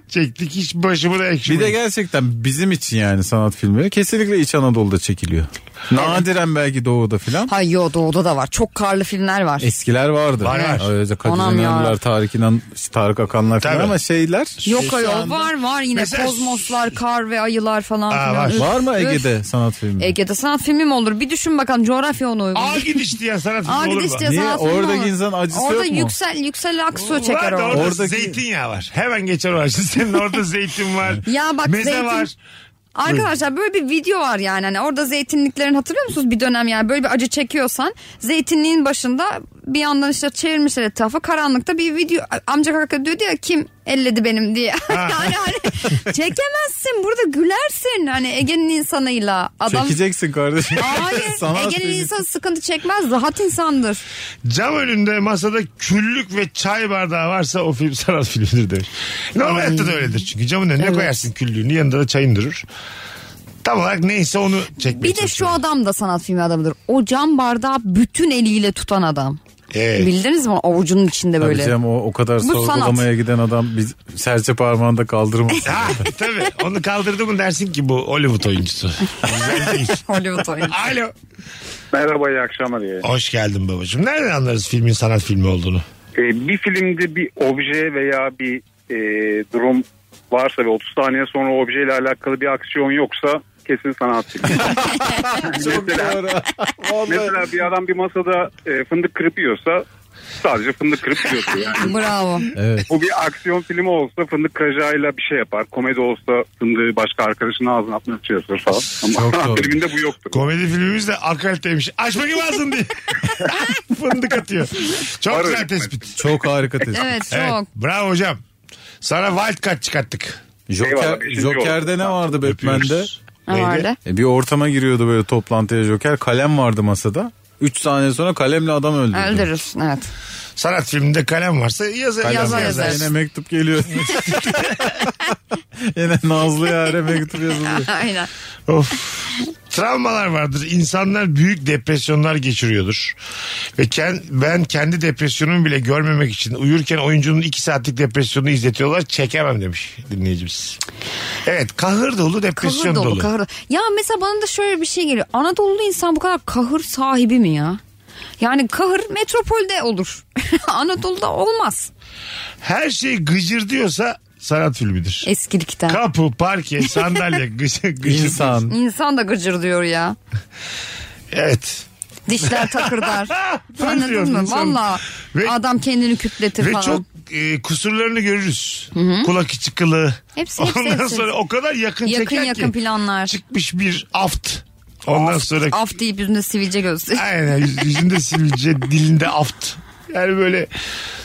çektik hiç başımı da ekşimedik.
Bir de gerçekten bizim için yani sanat filmleri kesinlikle İç Anadolu'da çekiliyor. Nadiren belki Doğu'da filan.
Hayır yo doğuda da var. Çok karlı filmler var.
Eskiler vardı.
Var, var.
Öyle Kadir
Anam ya.
İnanırlar, Tarık, İnan, Tarık Akanlar filan
Tabii.
ama şeyler.
Yok
Şu
ayol
anda-
var var yine
Mesela-
kozmoslar, kar ve ayılar falan
Aa,
filan.
var.
Üf,
Var mı
üf. E,
Ege'de sanat filmi?
Ege'de sanat filmi mi olur? Bir düşün bakalım coğrafya ona uygun.
Ağ gidişti ya sanat filmi
Abi
olur mu?
de işte sanat
Niye?
filmi
Oradaki
olur.
insan acısı
Orada
yok mu?
yüksel, yüksel aksu çeker
Var da
o.
orada
Oradaki-
zeytinyağı var. Hemen geçer o acı. Senin orada zeytin var.
Ya bak
Meze
zeytin-
var.
Arkadaşlar böyle bir video var yani hani orada zeytinliklerin hatırlıyor musunuz bir dönem yani böyle bir acı çekiyorsan zeytinliğin başında bir yandan işte çevirmişler etrafı karanlıkta bir video amca kaka diyor diyor kim elledi benim diye. yani hani çekemezsin burada gülersin hani Ege'nin insanıyla adam.
Çekeceksin kardeşim.
Hayır
Sanat
Ege'nin
filmi.
insanı sıkıntı çekmez rahat insandır.
Cam önünde masada küllük ve çay bardağı varsa o film sanat filmidir demiş. Normal hayatta da öyledir çünkü. Camın önüne koyarsın küllüğünü yanında da çayın durur. Tam olarak neyse onu çekmeye
Bir de şu adam da sanat filmi adamıdır. O cam bardağı bütün eliyle tutan adam.
Evet.
Bildiniz mi avucunun içinde
Tabii
böyle.
canım, o, o kadar
Bu
sorgulamaya
sanat.
giden adam biz serçe parmağında kaldırmaz.
Ha tabii onu kaldırdı mı dersin ki bu Hollywood oyuncusu. Güzel değil.
Hollywood oyuncu.
Alo.
Merhaba iyi akşamlar. iyi.
Hoş geldin babacığım. Nereden anlarız filmin sanat filmi olduğunu?
Ee, bir filmde bir obje veya bir e, durum varsa ve 30 saniye sonra o objeyle alakalı bir aksiyon yoksa kesin sanat filmi.
Çok doğru. Vallahi.
Mesela bir adam bir masada e, fındık kırıp yiyorsa sadece fındık kırıp yiyorsa yani.
Bravo.
Evet.
Bu bir aksiyon filmi olsa fındık kıracağıyla bir şey yapar. Komedi olsa fındığı başka arkadaşının ağzına atmak için yapar falan. Ama
Çok doğru.
filminde bu yoktur.
Komedi filmimiz de akaliteymiş. Aç bakayım ağzını diye. Fındık atıyor. Çok
Var
güzel
öyle.
tespit.
Çok harika tespit.
Evet çok.
Evet, bravo hocam. Sana wild card çıkarttık.
Joker,
Eyvallah, beşinci
Joker'de
oldu.
ne vardı Batman'de?
Öpüyoruz.
Ne vardı?
E, bir ortama giriyordu böyle toplantıya Joker. Kalem vardı masada. 3 saniye sonra kalemle adam öldürdü.
Öldürürsün evet.
Sanat filminde kalem varsa yazar.
Kalem
yazar,
varsa
yazar.
yazar.
Yine mektup geliyor. Yine Nazlı Yare mektup yazılıyor.
Aynen.
Of. Travmalar vardır. İnsanlar büyük depresyonlar geçiriyordur. Ve ken- ben kendi depresyonumu bile görmemek için uyurken oyuncunun 2 saatlik depresyonunu izletiyorlar. Çekemem demiş dinleyicimiz. Evet kahır dolu
Kahır
depresyon
dolu,
dolu.
kahır. Ya mesela bana da şöyle bir şey geliyor. Anadolu'lu insan bu kadar kahır sahibi mi ya? Yani kahır metropolde olur. Anadolu'da olmaz.
Her şey gıcır diyorsa sanat filmidir.
E- Eskilikten.
Kapı, parke, sandalye, gıcır, gıcır.
İnsan.
İnsan da gıcır diyor ya.
Evet.
Dişler takırdar.
Doğru
Ah, Anladın
diyorsun
mı?
sen.
Valla
Ve-
adam kendini kütletir
Ve
falan.
çok e, kusurlarını görürüz. Kulak içi kılı.
Hepsi, hepsi,
Ondan
hepsi.
sonra o kadar yakın,
yakın
çeker
yakın
ki.
planlar.
Çıkmış bir aft. Ondan sonra
Af deyip yüzünde sivilce göster.
Aynen yüz- yüzünde sivilce dilinde aft. Yani böyle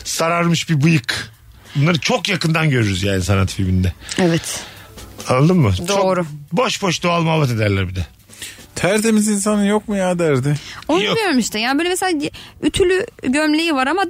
sararmış bir bıyık. Bunları çok yakından görürüz yani sanat filminde.
Evet.
Anladın mı? Çok
Doğru.
boş boş doğal muhabbet ederler bir de.
Tertemiz insanın yok mu ya derdi.
Onu
Yok.
bilmiyorum işte. Yani böyle mesela ütülü gömleği var ama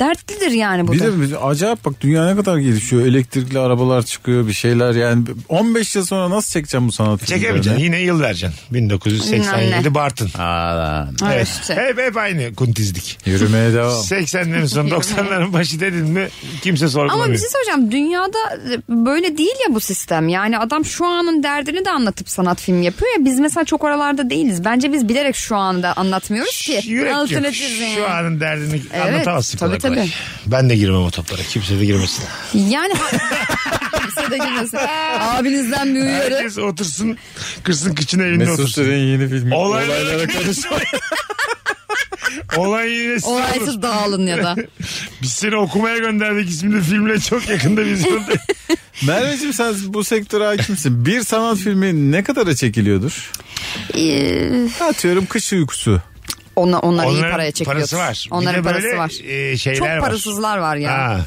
dertlidir yani bu
Bir
da.
de bir- acayip bak dünya ne kadar gelişiyor. Elektrikli arabalar çıkıyor bir şeyler yani. 15 yıl sonra nasıl çekeceğim bu sanat filmlerini?
Çekemeyeceksin. Yine yıl vereceksin. 1987
Anne.
Bartın.
Alan.
Evet.
Evet.
işte.
Hep, hep aynı kuntizlik.
Yürümeye devam.
80'lerin sonu 90'ların başı dedin mi kimse sorgulamıyor.
Ama bir şey söyleyeceğim. Dünyada böyle değil ya bu sistem. Yani adam şu anın derdini de anlatıp sanat filmi yapıyor ya. Biz mesela çok oralarda değiliz. Bence biz bilerek şu anda anlatmıyoruz ki.
Yürek yok.
Anlatırız yani.
Şu anın derdini
Evet,
anlatamazsın
tabii,
kolay kolay. Ben de girmem o toplara. Kimse de girmesin.
Yani kimse de girmesin. Abinizden bir uyarı.
Herkes otursun kırsın kıçına evinde
Mesut
otursun.
Süren'in yeni filmi.
Olaylara,
Olaylara
karışma. Olay yine size olur.
Olaysız dağılın ya da.
Biz seni okumaya gönderdik isimli filmle çok yakında vizyonda.
Merveciğim sen bu sektöre hakimsin. Bir sanat filmi ne kadara çekiliyordur?
Ee,
Atıyorum kış uykusu.
ona, onlar iyi
Onların
paraya çekiyor.
parası var. Bir
Onların
de böyle,
parası var.
e, şeyler
Çok
var.
parasızlar var ya. Yani.
Ha,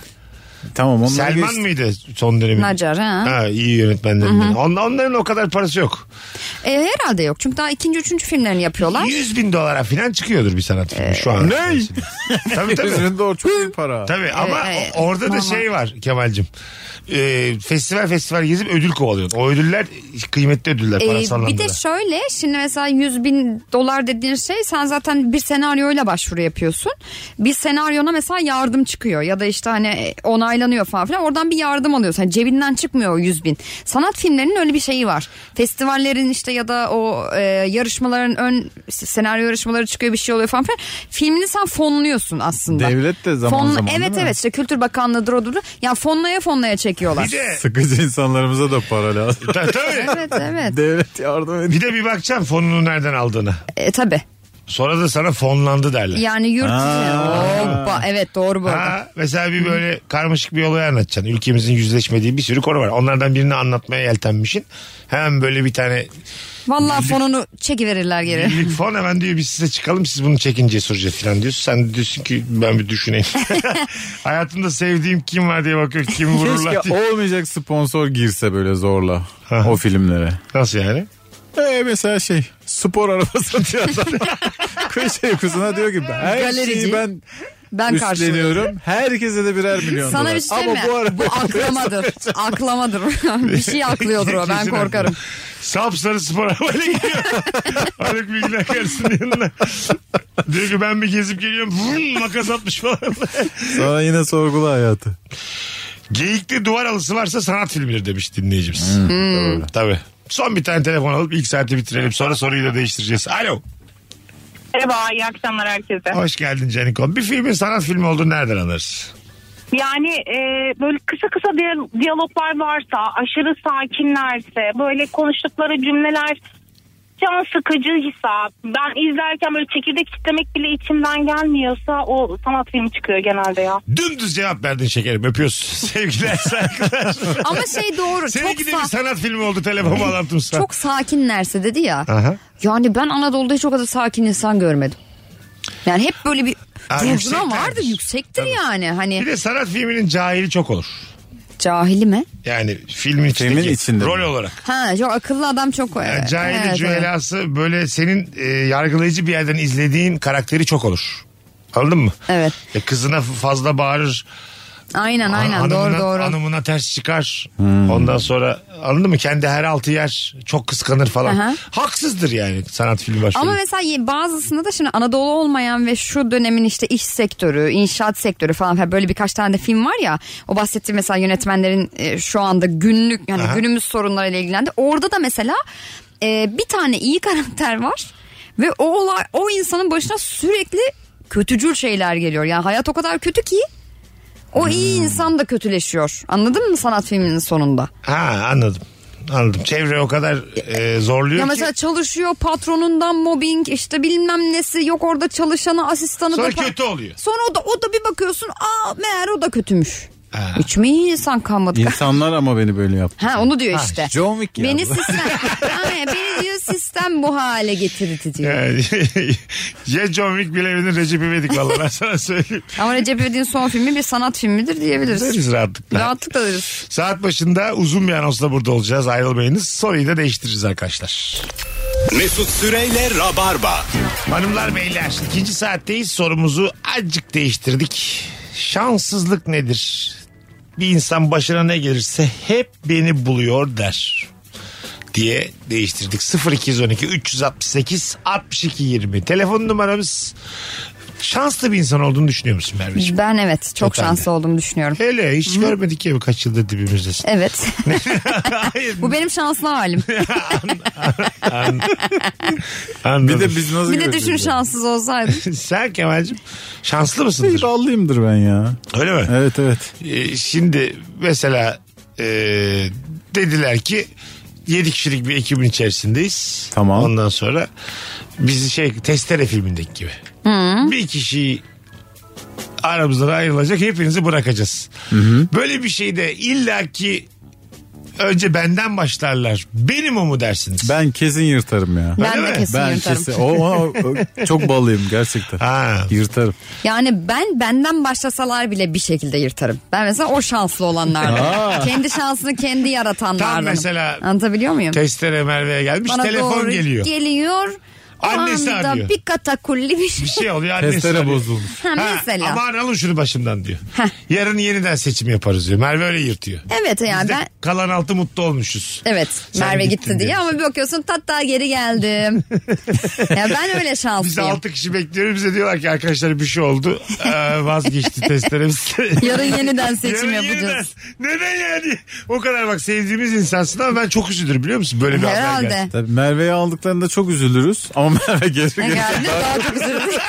Tamam onlar
Selman
geçti.
mıydı son dönemi?
Nacar ha.
Ha, iyi yönetmenlerinden. On, onların o kadar parası yok.
E, herhalde yok. Çünkü daha ikinci, üçüncü filmlerini yapıyorlar.
100 bin dolara falan çıkıyordur bir sanat filmi
Ee,
şu an.
Ne?
tabii tabii.
Gözünde o çok iyi para.
Tabii
Ee,
ama
evet,
o- orada da
normal.
şey var Kemal'cim. Ee, festival festival gezip ödül kovalıyorsun. O ödüller kıymetli ödüller
Ee,
parasal
bir de
anlamda. da.
şöyle şimdi mesela 100 bin dolar dediğin şey sen zaten bir senaryoyla başvuru yapıyorsun. Bir senaryona mesela yardım çıkıyor ya da işte hani e, onaylanıyor falan filan oradan bir yardım alıyorsun. Hani cebinden çıkmıyor o 100 bin. Sanat filmlerinin öyle bir şeyi var. Festivallerin işte ya da o e, yarışmaların ön senaryo yarışmaları çıkıyor bir şey oluyor falan filan. Filmini sen fonluyorsun aslında.
Devlet de zaman zaman, değil
Evet
mi?
evet işte Kültür Bakanlığı'dır odur. Yani fonlaya fonlaya çekiyorlar.
Bir de
Sıkıcı insanlarımıza da para lazım.
Ta- tabii.
Evet evet.
Devlet yardım ediyor.
Bir de bir bakacağım fonunu nereden aldığını.
E, tabii.
Sonra da sana fonlandı derler.
Yani yurt içi. Hoppa. Evet doğru bu arada.
Ha, mesela bir böyle karmaşık bir olay anlatacaksın. Ülkemizin yüzleşmediği bir sürü konu var. Onlardan birini anlatmaya yeltenmişsin. Hemen böyle bir tane
Vallahi fonunu çekiverirler geri.
birlik fon hemen diyor biz size çıkalım siz bunu çekince soracağız falan diyorsun. Sen de diyorsun ki ben bir düşüneyim. Hayatımda sevdiğim kim var diye bakıyor kim vururlar
Keşke
diye.
olmayacak sponsor girse böyle zorla o filmlere.
Nasıl yani?
Ee, mesela şey spor arabası diyor adam. Kış uykusuna diyor ki her
Galerici.
şeyi ben,
Ben karşılıyorum.
üstleniyorum. Herkese de birer milyon
Sana
dolar.
bir şey
Ama
söyleyeyim
bu
mi?
araba
Bu aklamadır. Aklamadır. bir şey aklıyordur o. Ben
Kesin
korkarım.
haklı. Sapsarı spor arabayla gidiyor. Haluk Bilginer karşısının yanına. Diyor ki ben bir gezip geliyorum. Vum, makas atmış falan.
Sonra yine sorgula hayatı.
Geyikli duvar alısı varsa sanat filmidir demiş dinleyicimiz.
Hmm.
Doğru. Tabii. Son bir tane telefon alıp ilk saatte bitirelim. Sonra soruyu da değiştireceğiz. Alo.
Merhaba, iyi akşamlar herkese.
Hoş geldin Canikom. Bir filmin sanat filmi olduğunu nereden anlarız?
Yani e, böyle kısa kısa diya- diyaloglar varsa, aşırı sakinlerse, böyle konuştukları cümleler can sıkıcıysa, ben izlerken böyle çekirdek kitlemek bile içimden gelmiyorsa o sanat filmi çıkıyor genelde ya.
Dümdüz cevap verdin şekerim. Öpüyoruz. Sevgiler saygılar.
Ama şey doğru.
Seninki
çok,
de
sa-
bir sanat filmi oldu telefon bağlantımsa.
çok sakinlerse dedi ya.
Aha.
Yani ben Anadolu'da hiç o kadar sakin insan görmedim. Yani hep böyle bir
Ha,
ruhuna
yükseklerdir.
vardır yüksektir
Tabii.
yani
Bir
hani
de sanat filminin cahili çok olur.
cahili mi?
Yani filmin içindeki
Filmin içinde
rol
mi?
olarak.
Ha çok akıllı adam çok.
Yani cahili
Evet, evet.
cühelası böyle senin e, yargılayıcı bir yerden izlediğin karakteri çok olur. Anladın mı?
Evet.
E, kızına fazla bağırır.
Aynen aynen
hanımına,
doğru doğru.
hanımına ters çıkar.
Hmm.
Ondan sonra anladın mı? Kendi her altı yer. Çok kıskanır falan.
Aha.
Haksızdır yani sanat filmi başlıyor.
Ama mesela ye- bazısında da şimdi Anadolu olmayan ve şu dönemin işte iş sektörü, inşaat sektörü falan filan böyle birkaç tane de film var ya. O bahsettiğim mesela yönetmenlerin e, şu anda günlük yani
Aha.
günümüz sorunlarıyla ilgilendi. Orada da mesela e, bir tane iyi karakter var ve o olay o insanın başına sürekli kötücül şeyler geliyor. Yani hayat o kadar kötü ki o iyi insan da kötüleşiyor. Anladın mı sanat filminin sonunda?
Ha anladım. Anladım. Çevre o kadar e, zorluyor
Ya
ki.
mesela çalışıyor patronundan mobbing işte bilmem nesi yok orada çalışanı asistanı
Sonra
da pa-
kötü oluyor.
Sonra o da o da bir bakıyorsun aa meğer o da kötümüş.
Ha.
Hiç mi iyi insan kalmadı?
İnsanlar ama beni böyle yaptı.
Ha onu diyor işte.
John Wick ya
Beni
bu.
sistem Aynen, beni diyor sistem bu hale getirdi diyor.
Yani, ya John Wick bilemedin Recep İvedik valla ben sana söyleyeyim.
Ama Recep İvedik'in son filmi bir sanat filmidir diyebiliriz.
Deriz rahatlıkla.
Rahatlıkla deriz.
Saat başında uzun bir anonsla burada olacağız. Ayrılmayınız. Soruyu da değiştiririz arkadaşlar.
Mesut Süreyle Rabarba.
Hanımlar beyler ikinci saatteyiz sorumuzu azıcık değiştirdik. Şanssızlık nedir? Bir insan başına ne gelirse hep beni buluyor der diye değiştirdik. 0212 368 62 20 telefon numaramız. Şanslı bir insan olduğunu düşünüyor musun Merveciğim?
Ben evet çok
Totalde.
şanslı olduğumu düşünüyorum.
Hele hiç görmedik ya kaç yıldır dibimizdesin.
Evet.
Hayır.
bu benim şanslı halim.
Bir
Anladım.
de biz nasıl
bir de
göreceğiz
düşün
ya?
şanssız olsaydım.
Sen Kemal'cim şanslı
Bir
mısındır?
ballıyımdır ben ya.
Öyle mi?
Evet evet.
Ee, şimdi mesela e, dediler ki 7 kişilik bir ekibin içerisindeyiz.
Tamam.
Ondan sonra bizi şey testere filmindeki gibi. Bir kişiyi aramızdan ayrılacak hepinizi bırakacağız. Böyle bir şey şeyde illaki önce benden başlarlar. Benim o mu dersiniz?
Ben kesin yırtarım ya.
ben
mi?
de kesin
Ben
yırtarım.
kesin. O, o- o- çok balıyım gerçekten.
Ha.
Yırtarım.
Yani ben benden başlasalar bile bir şekilde yırtarım. Ben mesela o şanslı olanlardan. kendi şansını kendi
Tam
yaratanlardanım.
mesela-
Anlatabiliyor muyum?
Testere Merve'ye gelmiş telefon
doğru
geliyor.
Geliyor. O
Annesi
anda
arıyor.
bir katakulli bir şey.
bir şey oluyor. annesi
Testere
arıyor.
bozulmuş.
Ha,
Ha,
mesela.
Aman alın şunu başımdan diyor. Yarın yeniden seçim yaparız diyor. Merve öyle yırtıyor.
Evet yani
Biz de
ben
kalan altı mutlu olmuşuz.
Evet
Sen
Merve
gittin
gitti diye
diye.
ama bir bakıyorsun tatta geri geldim. ya ben öyle
Biz
şanslıyım.
altı kişi bekliyoruz. Bize diyorlar ki arkadaşlar bir şey oldu. Ee, vazgeçti testlerimiz.
Yarın yeniden seçim
Yarın
yapacağız.
yeniden. Neden yani? O kadar bak sevdiğimiz insansın ama ben çok üzülür biliyor musun? Böyle bir haber geldi.
Herhalde.
Tabii Merve'yi aldıklarında çok üzülürüz ama Merve geri
Ne
gelir.
geldi? Daha çok üzüldüm.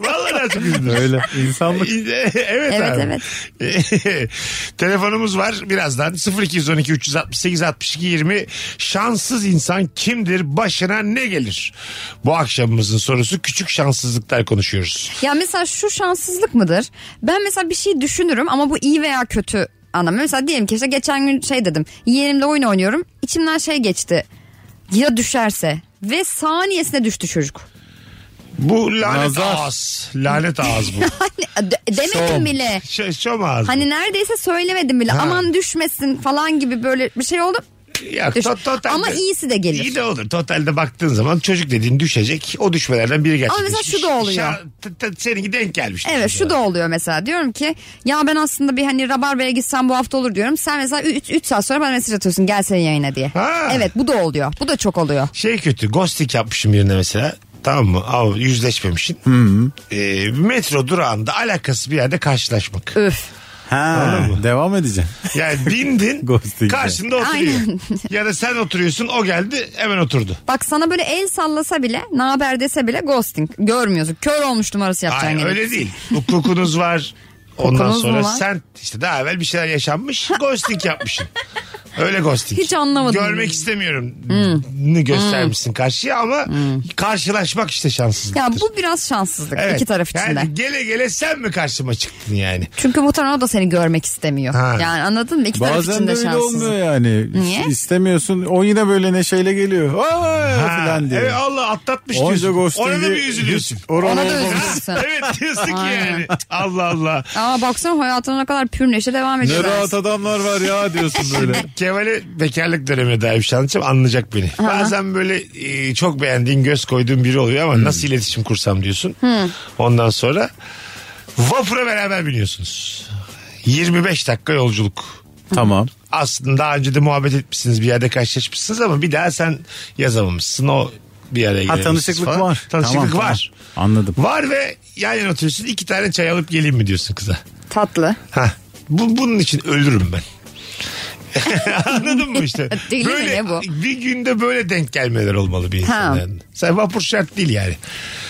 Vallahi ben çok üzülürüm.
Öyle insanlık.
evet, abi.
Evet,
Telefonumuz var birazdan 0212 368 62 20 şanssız insan kimdir başına ne gelir? Bu akşamımızın sorusu küçük şanssızlıklar konuşuyoruz.
Ya mesela şu şanssızlık mıdır? Ben mesela bir şey düşünürüm ama bu iyi veya kötü anlamı. Mesela diyelim ki işte geçen gün şey dedim. Yeğenimle oyun oynuyorum. İçimden şey geçti. Ya düşerse ve saniyesine düştü çocuk.
Bu lanet
Nazar.
ağız. Lanet ağız bu.
Hani de- demedim bile.
Ş- şom ağız.
Hani neredeyse söylemedim bile.
Ha.
Aman düşmesin falan gibi böyle bir şey oldu.
Ya,
Düş-
to- totalde-
Ama iyisi de gelir.
İyi de olur. Totalde baktığın zaman çocuk dediğin düşecek. O düşmelerden biri gerçekleşmiş.
mesela şu da oluyor.
Şa- t- t- seninki denk gelmiş.
Evet şu da oluyor mesela diyorum ki ya ben aslında bir hani Rabarba'ya gitsem bu hafta olur diyorum. Sen mesela 3 saat sonra bana mesaj atıyorsun gel senin yayına diye.
Ha.
Evet bu da oluyor. Bu da çok oluyor.
şey kötü ghosting yapmışım birine mesela tamam mı Av, yüzleşmemişsin Ee, metro durağında alakası bir yerde karşılaşmak
Öf.
Ha, devam edeceğim.
yani bindin
Ghosting.
karşında oturuyor
Aynen.
ya da sen oturuyorsun o geldi hemen oturdu
Bak sana böyle el sallasa bile ne haber dese bile ghosting. Görmüyorsun. Kör olmuş numarası yapacaksın.
Hayır
gene.
öyle değil hukukunuz var ondan
Hukukunuz mu
sonra
var?
sen işte daha evvel bir şeyler yaşanmış ghosting yapmışsın Öyle ghosting.
Hiç anlamadım. Hmm.
Görmek istemiyorum. Ne göstermişsin karşıya ama karşılaşmak işte şanssızlıktır.
Ya bu biraz şanssızlık
Evet.
iki taraf için de.
Yani gele gele sen mi karşıma çıktın yani?
Çünkü muhtemelen o da seni görmek istemiyor.
Ha.
Yani anladın mı? İki taraf
Bazen
için
de
de
öyle olmuyor
şanssızlık.
yani.
Niye?
İstemiyorsun. O yine böyle neşeyle geliyor. Aa,
Ha,
falan diyor.
Evet Allah atlatmış
Onca
diyorsun.
ghosting'i
Ona da bir üzülüyorsun.
hiç oralı
Ona da
olmamış.
üzülüyorsun.
Ha, evet diyorsun ki yani. Allah Allah.
Aa baksana hayatına ne kadar pür neşe devam
Ne
ediyor.
rahat adamlar var ya diyorsun böyle.
Kemal'e bekarlık dönemine dair bir şey anlatacağım anlayacak beni. Bazen böyle e, çok beğendiğin göz koyduğun biri oluyor
Hmm.
ama nasıl iletişim kursam diyorsun. Ondan sonra vapura beraber biniyorsunuz. 25 dakika yolculuk.
tamam.
aslında daha önce de muhabbet etmişsiniz bir yerde karşılaşmışsınız ama bir daha sen yazamamışsın o bir yere
Ha
girememişsiniz
tanışıklık
falan.
var.
Tanışıklık
Tamam,
var.
tamam. Anladım.
Var ve yan yana oturuyorsun iki tane çay alıp geleyim mi diyorsun kıza.
Tatlı.
Ha. Bu, bunun için ölürüm ben. Anladın mı işte?
Deli mi
böyle,
ne bu?
Bir günde böyle denk gelmeler olmalı bir insanın.
Ha.
yani. Sen vapur şart değil yani.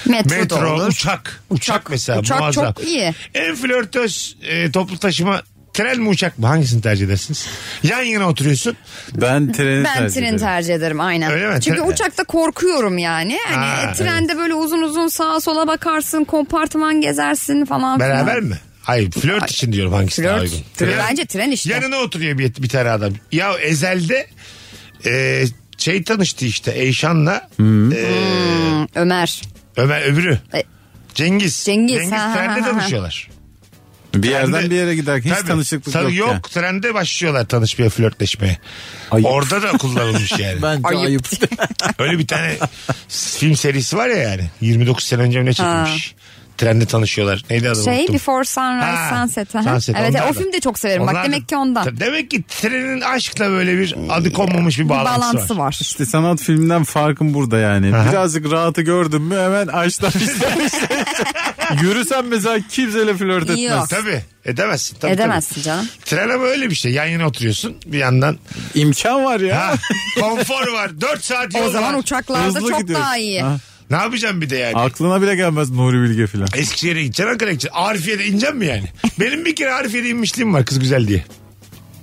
Metro, da
Metro,
olur.
uçak. Uçak mesela
Uçak
muazzam.
çok iyi.
En flörtöz e, toplu taşıma Tren mi uçak mı? Hangisini tercih edersiniz? Yan yana oturuyorsun.
Ben treni
Ben
tercih
treni
ederim.
tercih ederim aynen.
Öyle mi?
Çünkü
Tren-
uçakta korkuyorum yani. Hani
Ha,
e, trende böyle uzun uzun sağa sola bakarsın, kompartman gezersin falan filan.
Beraber mi? Hayır flört için diyorum hangisi daha
Flört.
uygun.
Tren-
Tren-
Bence tren işte.
Yanına oturuyor bir, bir tane adam. Ya ezelde e, şey tanıştı işte Eyşan'la e,
Hmm, Ömer.
Ömer öbürü.
E,
Cengiz.
Cengiz,
Cengiz
ha, ha,
trende
ha, ha.
tanışıyorlar.
Bir yerden
Trende-
bir yere giderken hiç
Tabii.
tanışıklık
Tabii
yok.
yok.
ya.
Trende başlıyorlar tanışmaya, flörtleşmeye.
Ayıp.
Orada da kullanılmış yani.
Bence
Ayıp.
ayıp.
Öyle bir tane film serisi var ya yani. 29 sene önce mi ne çekilmiş? Trende tanışıyorlar. Neydi adı
Şey
unuttum.
Before Sunrise
Ha,
Sunset. ha.
Sunset,
evet
onlar
o
da.
filmi de çok severim.
Onlar da-
Bak demek ki ondan.
Ta- Demek ki trenin aşkla böyle bir adı konmamış bir
Bir
bağlantısı,
bağlantısı
var.
var.
İşte sanat filminden farkım burada yani.
Aha.
Birazcık rahatı gördün mü hemen açtan Yürüsen mesela kimseyle flört
Yok.
etmez.
Tabii edemezsin. Tabii,
Edemezsin canım.
Tabii. Tren ama öyle bir şey. Yan yana oturuyorsun bir yandan.
İmkan var ya.
Ha, konfor var. 4 saat yol
O zaman
Şey var.
uçaklarda
Hızlı
çok
gidiyorsun.
daha iyi.
Ha.
Ne yapacağım bir de yani?
Aklına bile gelmez Nuri Bilge filan.
Eskişehir'e gideceksin Ankara'ya gideceksin. Arifiye'de ineceğim mi yani? Benim bir kere Arifiye'de inmişliğim var kız güzel diye.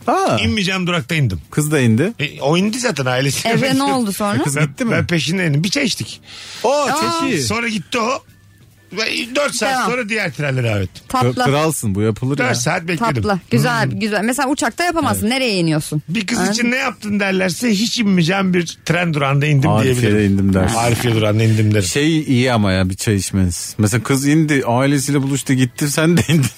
Ha,
İnmeyeceğim durakta indim.
kız da indi.
E, o indi zaten ailesi.
Evre ne oldu sonra?
Kız
Ben,
gitti mi?
ben peşinden indim. Bir çay içtik.
O çeşi.
Sonra gitti o. Ve 4 saat
Devam.
sonra diğer trenle davet.
Kı-
Tatlı.
Kralsın bu yapılır
4
ya.
saat bekledim.
Tatlı. Güzel güzel. Mesela uçakta yapamazsın. Nereye iniyorsun?
Bir kız için ne yaptın derlerse hiç inmeyeceğim bir tren durağında indim
Arifiye'de
diyebilirim.
indim dersin.
Arifiye durağında indim derim.
Şey iyi ama ya bir çay içmeniz. Mesela kız indi ailesiyle buluştu gitti sen de indin.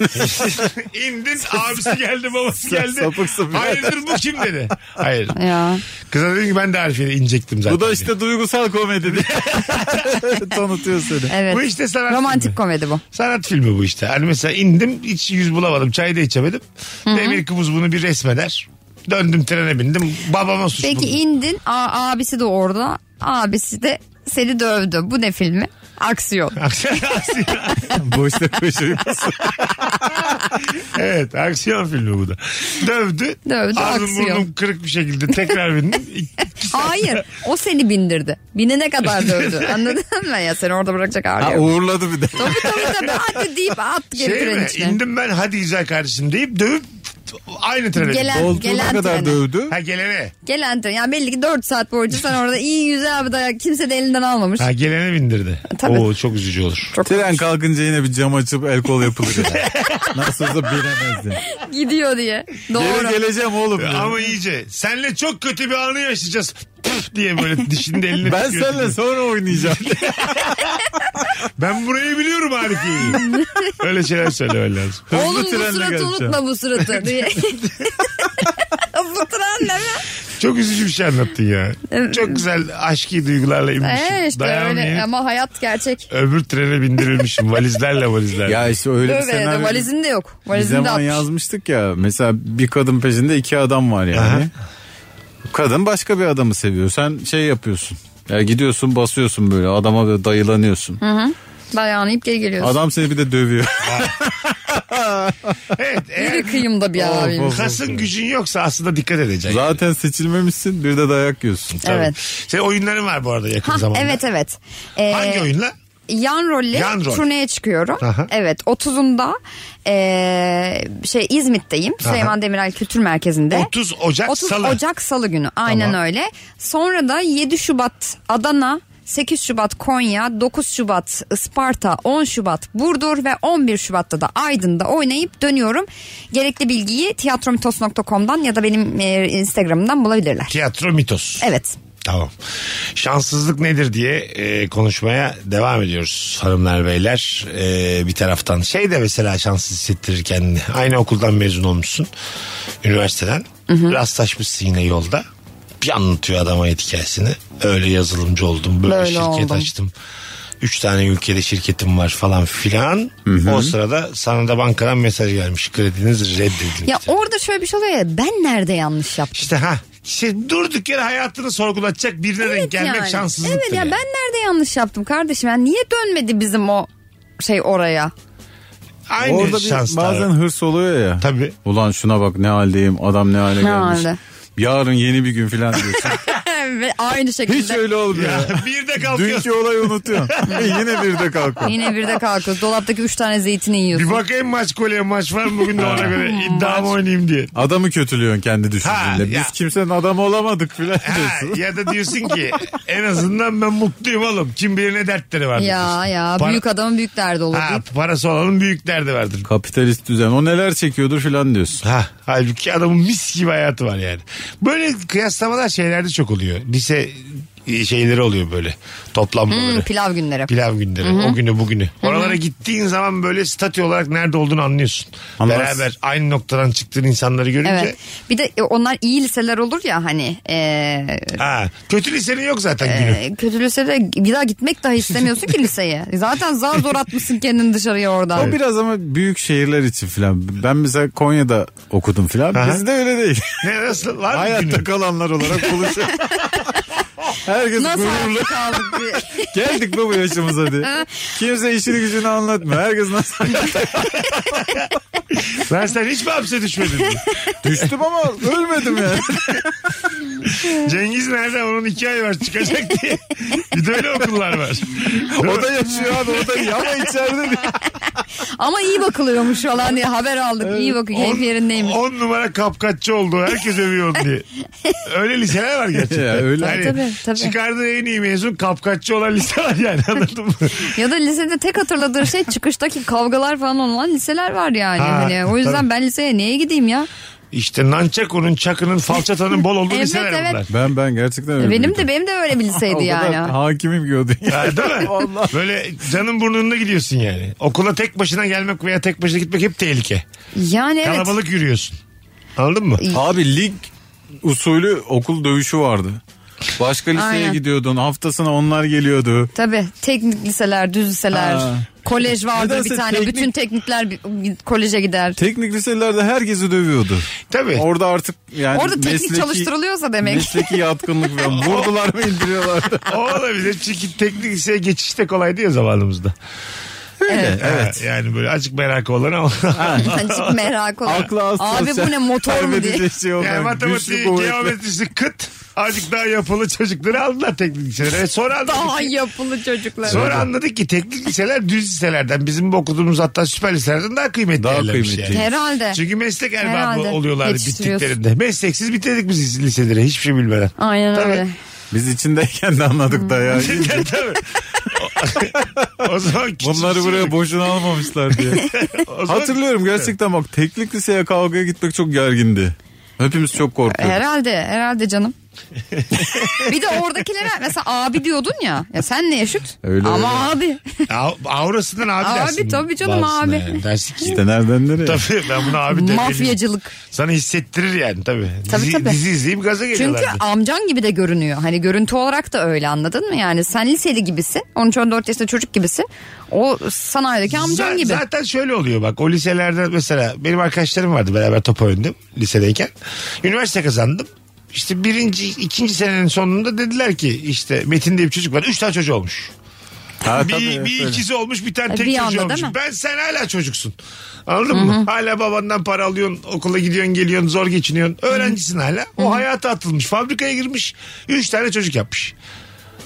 İndin abisi geldi babası geldi.
sapıksın birader.
Hayırdır bu kim dedi. Hayır.
Ya.
Kıza dedim ki ben de Arifiye'de inecektim zaten.
bu da işte duygusal komedi diye. Tanıtıyor seni.
Evet.
Bu işte sanat
Romantik
filmi.
komedi bu.
Sanat filmi bu işte. Hani mesela indim hiç yüz bulamadım. Çay da içemedim. Demir Kıvız bunu bir resmeder. Döndüm trene bindim. Babama suç
Peki
buldum.
indin. A- abisi de orada. Abisi de seni dövdü. Bu ne filmi? Aksiyon.
Aksiyon.
Boşta koşuyor kız.
evet aksiyon filmi bu da. Dövdü.
Dövdü,
Ağzım
aksiyon.
burnum kırık bir şekilde tekrar bindim. İki saat-
Hayır. O seni bindirdi. Binene kadar dövdü. Anladın mı ya? Seni orada bırakacak
Ha,
ağrıyor.
uğurladı bir de.
Tabii tabii tabii. Hadi deyip at geri
Şey
trenin
mi?
içine.
İndim ben hadi güzel kardeşim deyip dövüp aynı trene bindim.
Gelen,
Koltuğuna
gelen
kadar
trene.
dövdü.
Ha gelene.
Gelen tren. Yani belli ki 4 saat boyunca sen orada iyi güzel bir dayak kimse de elinden almamış.
Ha gelene bindirdi.
Tabii.
Oo çok üzücü olur.
Tren kalkınca yine bir cam açıp el kol yapılır. ya. Nasıl olsa bilemezdi.
Gidiyor diye. Doğru.
Geri geleceğim oğlum. dedi.
Ama iyice. Senle çok kötü bir anı yaşayacağız. Püf diye böyle dişinin elini
ben
tutuyor.
seninle sonra oynayacağım.
Ben burayı biliyorum Arifiye'yi. Öyle şeyler söylemen lazım.
Hızlı
Oğlum bu
trenle
suratı
geleceğim.
unutma bu suratı diye. bu tren ne mi?
Çok üzücü bir şey anlattın ya. Çok güzel aşkı duygularla inmişim.
Ee, işte
Dayamayıp
öyle ama hayat gerçek.
Öbür trene bindirilmişim. Valizlerle valizlerle.
Ya işte öyle bir
Öyle de
senaryo.
valizin de yok.
Bir
Valizin de
zaman
atmış.
yazmıştık ya. Mesela bir kadın peşinde iki adam var yani. Kadın başka bir adamı seviyor. Sen şey yapıyorsun. Ya gidiyorsun basıyorsun böyle adama böyle dayılanıyorsun.
Dayanayıp geri geliyorsun.
Adam seni bir de dövüyor.
Evet eğer
Yürü kıyımda bir abim.
of.
kasın gücün yoksa aslında dikkat edeceksin.
Zaten seçilmemişsin bir de dayak yiyorsun.
Tabii.
Evet.
Senin oyunların var bu arada yakın
Ha,
zamanda.
evet evet. Ee,
Hangi oyunla?
Yan rolle
Yan rol.
turneye çıkıyorum.
Aha.
Evet 30'unda ee, şey İzmit'teyim. Süleyman Demirel Kültür Merkezi'nde.
30 Ocak
30
Salı.
Ocak Salı günü aynen
Tamam.
öyle. Sonra da 7 Şubat Adana, 8 Şubat Konya, 9 Şubat Isparta, 10 Şubat Burdur ve 11 Şubat'ta da Aydın'da oynayıp dönüyorum. Gerekli bilgiyi tiyatromitos.com'dan ya da benim e, Instagram'dan bulabilirler.
Tiyatro mitos.
Evet.
Tamam. Şanssızlık nedir diye e, konuşmaya devam ediyoruz hanımlar beyler. E, bir taraftan şey de mesela şanssız hissettirir kendini. Aynı okuldan mezun olmuşsun. Üniversiteden. Rastlaşmışsın yine yolda. Bir anlatıyor adama hikayesini. Öyle yazılımcı oldum. Böyle,
Böyle
şirket
oldum.
açtım. Üç tane ülkede şirketim var falan filan. O sırada sana da bankadan mesaj gelmiş. Krediniz reddedildi.
Ya orada şöyle bir şey oluyor ya ben nerede yanlış yaptım?
İşte ha. İşte durduk yere hayatını sorgulatacak birine denk gelmek
yani.
şanssızlıktır.
Evet ya
yani.
ben nerede yanlış yaptım kardeşim? Yani niye dönmedi bizim o şey oraya?
Aynı
Orada bir
şans
bazen
tabii.
hırs oluyor ya.
Tabii.
Ulan şuna bak ne haldeyim adam ne hale
Ne
gelmiş.
halde?
Yarın yeni bir gün filan diyorsun.
Ve aynı şekilde.
Hiç öyle olmuyor.
Ya, bir de
Dünkü
kalkıyorsun.
olayı unutuyorsun. E, Yine bir de kalkıyor.
Yine bir de kalkıyoruz. Dolaptaki üç tane zeytini yiyorsun.
Bir bakayım maç kolye maç var mı bugün de ona göre iddiamı oynayayım diye.
Adamı kötülüyorsun kendi
Ha,
düşüncende.
ya.
Biz kimsenin adamı olamadık filan
Ha,
diyorsun.
ya da diyorsun ki en azından ben mutluyum oğlum. Kim bilir ne dertleri vardır.
Ya
diyorsun.
ya
Para-
büyük adamın büyük derdi olur.
Ha,
deyip.
parası olanın büyük derdi vardır.
Kapitalist düzen. O neler çekiyordur filan diyorsun.
Ha, halbuki adamın mis gibi hayatı var yani. Böyle kıyaslamalar şeylerde çok oluyor. Lise e, şeyleri oluyor böyle. Toplanmaları.
Hmm, pilav günleri.
Pilav günleri. O günü bugünü. Oralara gittiğin zaman böyle statü olarak nerede olduğunu anlıyorsun.
Anlarsın.
Beraber aynı noktadan çıktığın insanları görünce.
Evet. Bir de e, onlar iyi liseler olur ya hani. E,
Ha, kötü lisenin yok zaten günü.
e, kötü lisede bir daha gitmek dahi istemiyorsun ki liseye. Zaten zar zor atmışsın kendini dışarıya
O
oradan.
biraz ama büyük şehirler için filan. Ben mesela Konya'da okudum filan.
Aha.
Bizde öyle değil.
Ne nasıl var mı günü?
Hayatta kalanlar olarak buluşuyor. Herkes
Nasıl
gururlu.
hayatta kaldık? bir-
Geldik bu bu yaşımıza diye. Kimse işini gücünü anlatmıyor. Herkes nasıl
Ben sen hiç mi hapse düşmedin?
düştüm ama ölmedim yani.
Cengiz nerede? Onun iki ay var çıkacak diye. Bir de öyle okullar var.
O da yaşıyor abi o da iyi ama içeride değil.
Ama iyi bakılıyormuş falan diye haber aldık. İyi bakın keyif yerindeymiş.
On numara kapkaççı oldu. Herkes övüyor onu diye. Öyle liseler var gerçekten.
Ya öyle.
Hani
Tabii, tabii.
Çıkardığı en iyi mezun kapkaççı olan lise var yani anladın mı?
Ya da lisede tek hatırladığı şey çıkıştaki kavgalar falan olan liseler var yani.
Ha,
hani o yüzden
tabii.
ben liseye niye gideyim ya?
işte nançakonun, çakının, falçatanın bol olduğu
Evet,
liseler
evet.
bunlar.
Ben ben gerçekten öyle.
E, Benim de benim de öyle bir liseydi yani.
hakimim ki o dünya.
Ha, değil mi? Böyle canın burnunda gidiyorsun yani. Okula tek başına gelmek veya tek başına gitmek hep tehlike.
Yani evet.
Kalabalık yürüyorsun. Anladın mı?
Abi lig usulü okul dövüşü vardı. Başka liseye
Aynen.
gidiyordun. Haftasına onlar geliyordu.
Tabii teknik liseler, düz liseler,
Ha.
kolej vardı
Nedense
bir tane.
teknik-
Bütün teknikler bir- koleje gider.
Teknik liselerde herkesi dövüyordu.
Tabii.
Orada artık yani
Orada teknik
mesleki-
çalıştırılıyorsa demek.
Mesleki yatkınlık falan. Vurdular mı indiriyorlardı.
O olabilir. Çünkü teknik liseye geçiş de kolaydı ya zamanımızda.
Evet. evet.
Ha, yani böyle açık merakı olan ama.
Yani çok merak olan.
Aklı az
Abi bu
sosyal-
ne motor mu diye.
kaybedecek Şey
yani matematiği, geometrisi kıt. Azıcık daha yapılı çocukları aldılar teknik liselere. E Sonra anladık,
Daha yapılı çocuklar.
sonra anladık ki teknik liseler düz liselerden bizim bu okuduğumuz hatta süper liselerden daha kıymetli
Daha
yerlermiş
kıymetli.
Yani.
Herhalde.
Çünkü meslek erbabı
Herhalde.
oluyorlardı
Yetiştiriyorsun.
bittiklerinde. Mesleksiz bitirdik biz liseleri hiçbir şey bilmeden.
Aynen
Tabii.
öyle.
Biz içindeyken de anladık da ya.
Hmm.
Tabii, tabii. O- o zaman küçük- şey
Bunları buraya boşuna almamışlar diye.
o zaman-
Hatırlıyorum gerçekten bak teknik liseye kavgaya gitmek çok gergindi. Hepimiz çok korkuyorduk.
Herhalde, herhalde canım. bir de oradakilere mesela abi diyordun ya. Ya sen ne yaşıt?
Öyle
Ama abi.
Av- Avrasından abi,
Abi,
dersin.
tabii canım,
bazısına
abi.
yani. Dersin ki
İşte nereden nereye?
Tabii ben bunu abi demeliyim.
Mafyacılık.
Sana hissettirir yani tabii.
Tabii,
dizi,
tabii.
dizi izleyip gaza geliyorlar.
Çünkü amcan gibi de görünüyor. Hani görüntü olarak da öyle anladın mı? Yani sen liseli gibisin. 13-14 yaşında çocuk gibisin. O sanayideki amcan
Za-
gibi.
Zaten şöyle oluyor bak o liselerde mesela benim arkadaşlarım vardı beraber top oynadım lisedeyken. Üniversite kazandım. İşte birinci, ikinci senenin sonunda dediler ki işte Metin diye bir çocuk var. Üç tane çocuğu olmuş.
Ha,
bir,
tabii,
bir
öyle.
ikizi olmuş bir
E,
tane tek
bir anda
çocuğu
değil
olmuş.
mi?
Ben sen hala çocuksun. Anladın mı? Hala babandan para alıyorsun, okula gidiyorsun, geliyorsun, zor geçiniyorsun. Öğrencisin hala. O hayata atılmış. Fabrikaya girmiş. Üç tane çocuk yapmış.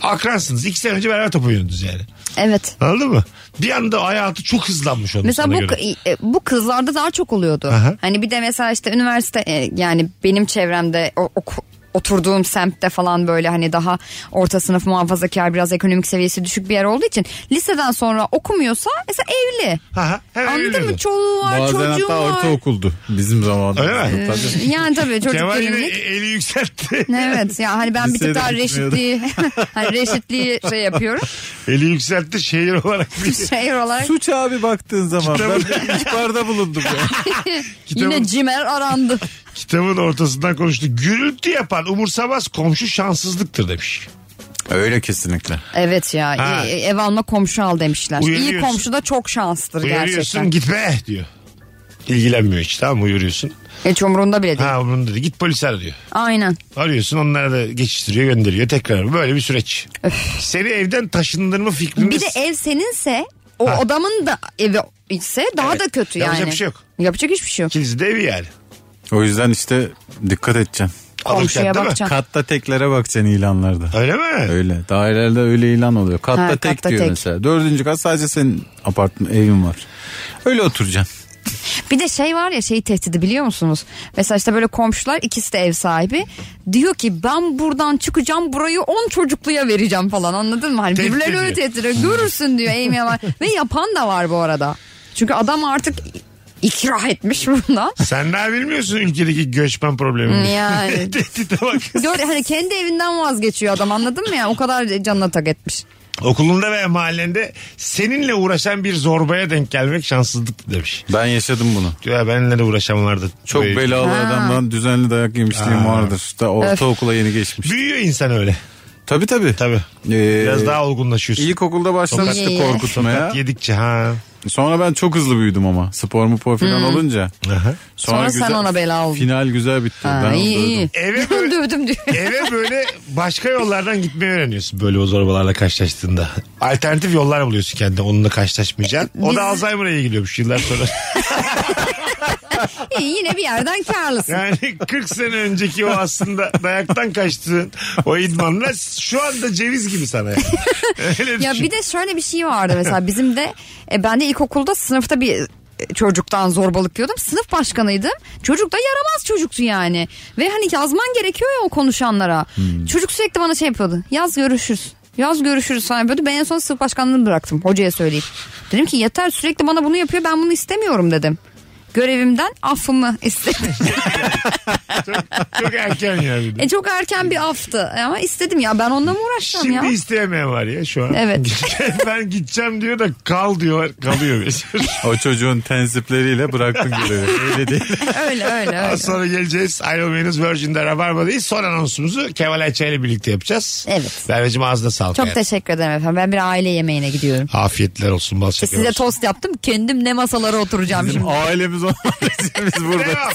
Akransınız. İki sene önce beraber top oynuyordunuz yani.
Evet.
Anladın mı? Bir anda hayatı çok hızlanmış onun
Mesela
sana
bu
göre.
e, bu kızlarda daha çok oluyordu.
Aha.
Hani bir de mesela işte üniversite e, yani benim çevremde o, oku- oturduğum semtte falan böyle hani daha orta sınıf muhafazakar biraz ekonomik seviyesi düşük bir yer olduğu için liseden sonra okumuyorsa mesela evli.
Aha, hemen
Anladın
evleniyordu.
mı? Çoluğu var,
Bazen
çocuğu
hatta
var.
ortaokuldu bizim zamanımızda.
Öyle mi?
Tabii.
Yani tabii çocuk
Kemal yine
gelinlik.
e, eli yükseltti.
Evet ya hani ben bir
Liseye
tık
e, de
daha
gitmiyordu.
reşitliği hani reşitliği şey yapıyorum.
eli yükseltti şehir olarak. Bir
Şey olarak
Suç abi baktığın zaman ben
Kitabı-
bir ihbarda bulundum ya.
yine cimer arandı.
kitabın ortasından konuştu. Gürültü yapan umursamaz komşu şanssızlıktır demiş.
Öyle kesinlikle.
Evet ya
Ha.
e- ev alma komşu al demişler. İyi
Uyarıyorsun.
komşu da çok şanstır
Uyarıyorsun
gerçekten.
gitme diyor. İlgilenmiyor hiç tamam mı uyarıyorsun.
Hiç umurunda bile değil.
Ha bunu dedi git polis ara diyor.
Aynen.
Arıyorsun onlara da geçiştiriyor gönderiyor tekrar böyle bir süreç. Seni evden taşındırma fikriniz.
Bir de ev seninse o adamın da evi ise daha
Evet.
da kötü yani.
Yapacak bir şey yok.
Yapacak hiçbir şey yok.
İkiniz de evi yani.
O yüzden işte dikkat edeceğim.
alacaksın
komşuya
değil mi?
bakacaksın.
Katta teklere bakacaksın ilanlarda.
Öyle mi?
Öyle. Dairelerde öyle ilan oluyor. Katta
Ha,
tek
katta
diyor
tek.
mesela. Dördüncü kat sadece senin apartman evin var. Öyle oturacaksın.
Bir de şey var ya şey tehdidi biliyor musunuz? Mesela işte böyle komşular ikisi de ev sahibi. Diyor ki ben buradan çıkacağım burayı 10 çocukluya vereceğim falan anladın mı? Hani
Tehdit
birbirlerini
ediyor.
öyle tehdit ediyor. Görürsün diyor Amy var. Ve yapan da var bu arada. Çünkü adam artık ikra etmiş bundan.
Sen daha bilmiyorsun ülkedeki göçmen problemini.
Yani.
Tehdite bak.
Gör, hani kendi evinden vazgeçiyor adam anladın mı ya? O kadar canına tak etmiş.
Okulunda veya mahallende seninle uğraşan bir zorbaya denk gelmek şanssızlık demiş.
Ben yaşadım bunu.
Ya benimle de uğraşanlardı.
Çok
Böyle-
belalı adamdan düzenli dayak yemişliğim vardır. Da ortaokula yeni geçmiş.
Büyüyor insan öyle.
Tabii tabii.
Tabii.
Ee,
Biraz daha olgunlaşıyorsun.
İlkokulda başlamıştı
Tokat-
korkutmaya.
Tokat yedikçe ha.
Sonra ben çok hızlı büyüdüm ama. Spor mu spor falan
Hmm.
olunca.
Aha.
Sonra sen ona bela oldun.
Final güzel bitti.
Ha,
ben
iyi
onu duydum.
iyi.
Eve böyle-
Dövdüm diyor.
Eve böyle başka yollardan gitmeyi öğreniyorsun böyle o zorbalarla karşılaştığında. Alternatif yollar buluyorsun kendine onunla karşılaşmayacaksın. O
Biz-
da Alzheimer'a iyi gidiyormuş yıllar sonra.
İyi, yine bir yerden karlısın.
Yani 40 sene önceki o aslında dayaktan kaçtığın o idmanla şu anda ceviz gibi sana yani. Öyle
Ya
düşün.
bir de şöyle bir şey vardı mesela bizim de e, ben de ilkokulda sınıfta bir e, çocuktan zorbalık yiyordum. Sınıf başkanıydım. Çocuk da yaramaz çocuktu yani. Ve hani yazman gerekiyor ya o konuşanlara. Çocuk sürekli bana şey yapıyordu. Yaz görüşürüz. Yaz görüşürüz falan yapıyordu. Ben en son sınıf başkanlığını bıraktım hocaya söyleyip. Dedim ki yeter sürekli bana bunu yapıyor ben bunu istemiyorum dedim. Görevimden affımı istedim.
Çok erken ya bir de.
e çok erken bir aftı ama istedim ya ben onunla mı uğraşacağım
Şimdi
ya?
isteyemeyen var ya şu an.
Evet.
ben gideceğim diyor da kal diyor kalıyor.
O çocuğun tenzipleriyle bıraktın görevi. Öyle değil.
öyle öyle öyle.
Az sonra geleceğiz. Ayrılmayınız Virgin'de Rabarba'dayız. Son anonsumuzu Kemal Ayça ile birlikte yapacağız.
Evet.
Merveciğim ağzına sağlık.
Çok
yani.
teşekkür ederim efendim. Ben bir aile yemeğine gidiyorum.
Afiyetler olsun. Bal şeker
Size
olsun.
tost yaptım. Kendim ne masalara oturacağım şimdi.
Ailemiz olmadığı için biz burada.
Devam.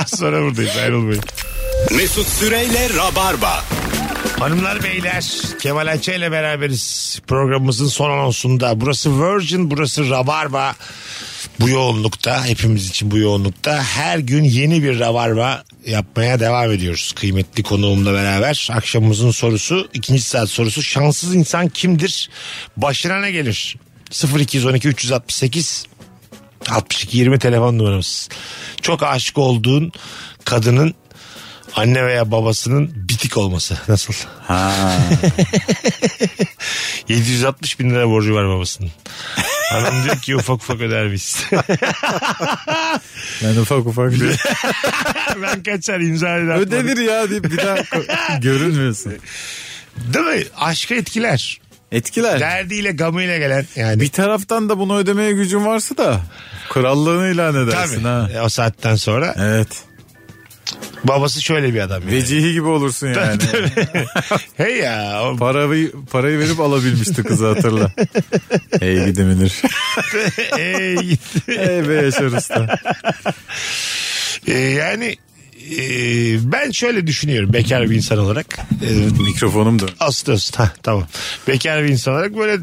Az sonra buradayız ayrılmayın.
Mesut Süreyle Rabarba.
Hanımlar beyler Kemal Ayça ile beraberiz. Programımızın son anonsunda. Burası Virgin burası Rabarba. Bu yoğunlukta hepimiz için bu yoğunlukta her gün yeni bir Rabarba yapmaya devam ediyoruz. Kıymetli konuğumla beraber akşamımızın sorusu ikinci saat sorusu şanssız insan kimdir? Başına ne gelir? 0212 368 62 20 telefon numaramız. Çok aşık olduğun kadının anne veya babasının bitik olması nasıl? Ha. 760 bin lira borcu var babasının. Hanım diyor ki ufak ufak öder biz.
Ben ufak ufak bir
ben kaçar imza eder.
ödenir ya deyip bir daha ko- görünmüyorsun.
Değil mi? Aşka etkiler.
Etkiler.
Derdiyle gamıyla gelen yani.
bir taraftan da bunu ödemeye gücün varsa da krallığını ilan edersin
Tabii.
ha.
E, O saatten sonra
Evet.
babası şöyle bir adam. Yani.
Vecihi gibi olursun yani.
Hey ya. o-
parayı, parayı verip alabilmişti kızı hatırla. Ey gidi Münir.
Hey gitti.
Ey be Yaşar Usta.
E, yani e, ben şöyle düşünüyorum bekar bir insan olarak. E,
Mikrofonum da.
Ağustos. Ha, tamam. Bekar bir insan olarak böyle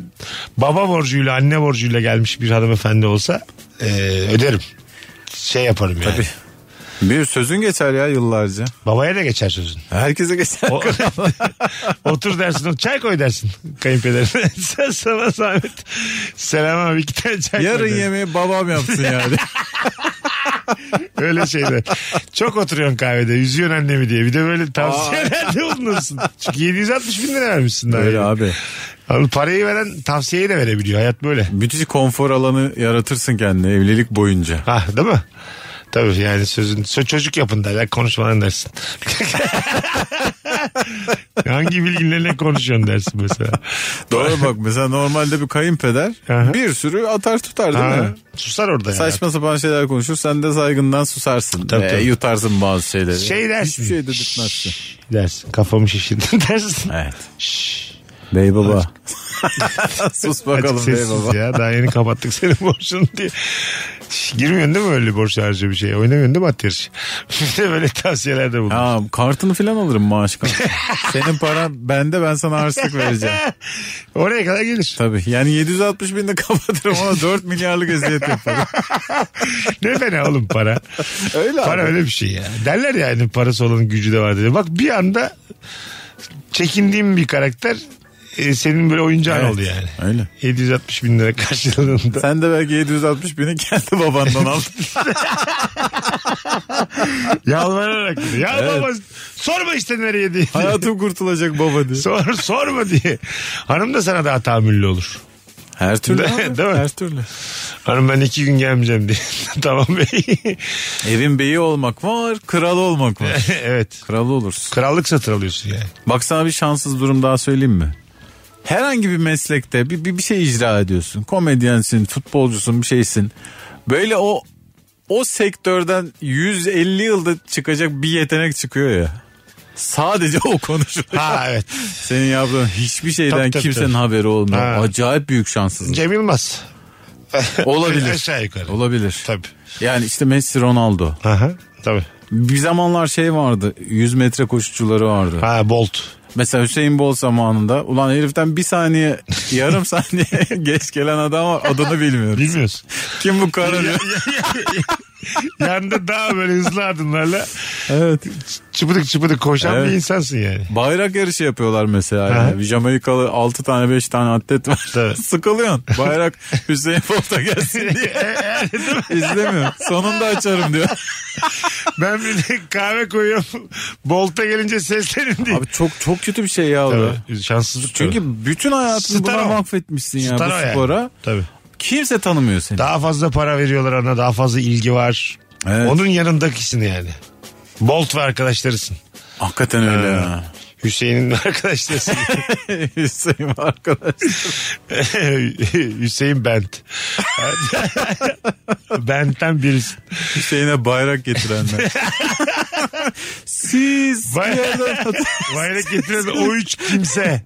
baba borcuyla anne borcuyla gelmiş bir hanımefendi olsa e, öderim. Şey yaparım yani.
Tabii. Bir sözün geçer ya yıllarca.
Babaya da geçer sözün.
Herkese geçer.
O- otur dersin. Çay koy dersin kayınpederine. Sen sana zahmet. Selam abi iki tane çay koy
Yarın
dersin.
yemeği babam yapsın yani.
Öyle şeyler. Çok oturuyorsun kahvede. Üzüyorsun annemi diye. Bir de böyle tavsiyelerde bulunursun. Çünkü 760 bin lira vermişsin daha.
Öyle
yeni.
abi.
Abi parayı veren tavsiyeyi de verebiliyor. Hayat böyle.
Müthiş konfor alanı yaratırsın kendine evlilik boyunca.
Ha değil mi? Tabii yani sözün sö- çocuk yapın derler konuşmadan dersin. Hangi bilginlerle konuşuyorsun dersin mesela.
Doğru bak mesela normalde bir kayınpeder
Aha.
bir sürü atar tutar değil
Ha,
mi?
susar orada yani.
Saçma sapan şeyler konuşur sen de saygından susarsın.
Tabii,
Ee,
tabii.
Yutarsın bazı şeyleri.
Şey dersin.
Hiçbir şey dedirtmezsin.
"Şşş" Dersin kafamı şişirdin dersin.
Evet.
Şşş.
Bey baba. Sus
Azıcık
bakalım bey
sessiz
baba.
ya daha yeni kapattık senin boşun diye. Girmiyorsun değil mi öyle borç harcı bir şeye? Oynamıyorsun değil mi at yarışı? Bir de böyle tavsiyelerde bulunuyor.
Ya kartını falan alırım maaş kartı. Senin paran bende ben sana harçlık vereceğim.
Oraya kadar gelir.
Tabii yani 760 bin de kapatırım ona 4 milyarlık eziyet yaparım.
ne fena oğlum para.
Öyle
Para öyle bir şey ya. Derler ya hani parası olanın gücü de var diye. Bak bir anda çekindiğim bir karakter e, senin böyle oyuncağın
Evet.
oldu yani.
Öyle.
760 bin lira karşılığında.
Sen de belki 760 bini kendi babandan al.
Yalvararak. dedi. Ya
Evet.
baba sorma işte nereye diye.
Hayatım kurtulacak baba diye.
Sor, sorma diye. Hanım da sana daha tahammüllü olur.
Her türlü abi,
Değil mi?
Her türlü.
Hanım ben iki gün gelmeyeceğim diye. tamam bey.
Evin beyi olmak var, kral olmak var.
evet.
Kral olursun.
Krallık satın alıyorsun yani.
Bak sana bir şanssız durum daha söyleyeyim mi? Herhangi bir meslekte bir, bir, bir şey icra ediyorsun. Komedyensin, futbolcusun, bir şeysin. Böyle o o sektörden 150 yılda çıkacak bir yetenek çıkıyor ya. Sadece o konuşuyor.
Ha evet.
Senin yaptığın hiçbir şeyden
Tabii, tabii,
kimsenin
tabii.
haberi olmuyor.
Ha.
Acayip büyük şanssızlık.
Cem Yılmaz.
Olabilir.
Aşağı yukarı.
Olabilir.
Tabii.
Yani işte Messi, Ronaldo.
Aha, tabii.
Bir zamanlar şey vardı. 100 metre koşucuları vardı.
Ha Bolt.
Mesela Hüseyin Bol zamanında ulan heriften bir saniye yarım saniye geç gelen adam var adını bilmiyorum.
Bilmiyorsun.
Kim bu karı? diyor.
Yanında daha böyle hızlı adımlarla
evet.
çıpıdık çıpıdık koşan
Evet.
bir insansın yani.
Bayrak yarışı yapıyorlar mesela.
Aha.
Yani. Jamaikalı 6 tane 5 tane atlet var.
Tabii.
Sıkılıyorsun. Bayrak Hüseyin Bolt'a gelsin diye. İzlemiyor. Sonunda açarım diyor.
Ben bir de kahve koyuyorum. Bolta gelince seslenin diye.
Abi çok çok kötü bir şey ya o da.
Tabii, şanssızlık.
Çünkü
tabii.
bütün hayatını
Star
buna
o.
mahvetmişsin ya
Star o
bu
yani.
spora.
Tabii.
Kimse tanımıyor seni.
Daha fazla para veriyorlar ona. Daha fazla ilgi var.
Evet.
Onun yanındakisini yani. Bolt ve arkadaşlarısın.
Hakikaten öyle ya.
Hüseyin'in ve arkadaşlarısın.
Hüseyin arkadaş.
Hüseyin Bent. Bent'ten birisin.
Hüseyin'e bayrak getirenler. Siz
Bay-
bir yerden
Bayrak getiren o üç kimse.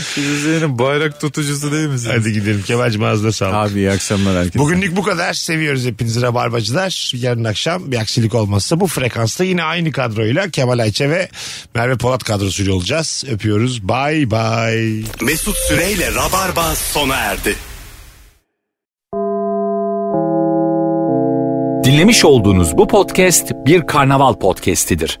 Siz Hüseyin'in bayrak tutucusu değil misiniz?
Hadi gidelim. Kemal'cim ağzına sağlık.
Abi iyi akşamlar herkese.
Bugünlük bu kadar. Seviyoruz hepinizi Rabarbacılar. Yarın akşam bir aksilik olmazsa bu frekansta yine aynı kadroyla Kemal Ayçe ve Merve Polat kadrosuyla olacağız. Öpüyoruz. Bay bay.
Mesut Süreyle Rabarba sona erdi.
Dinlemiş olduğunuz bu podcast bir karnaval podcastidir.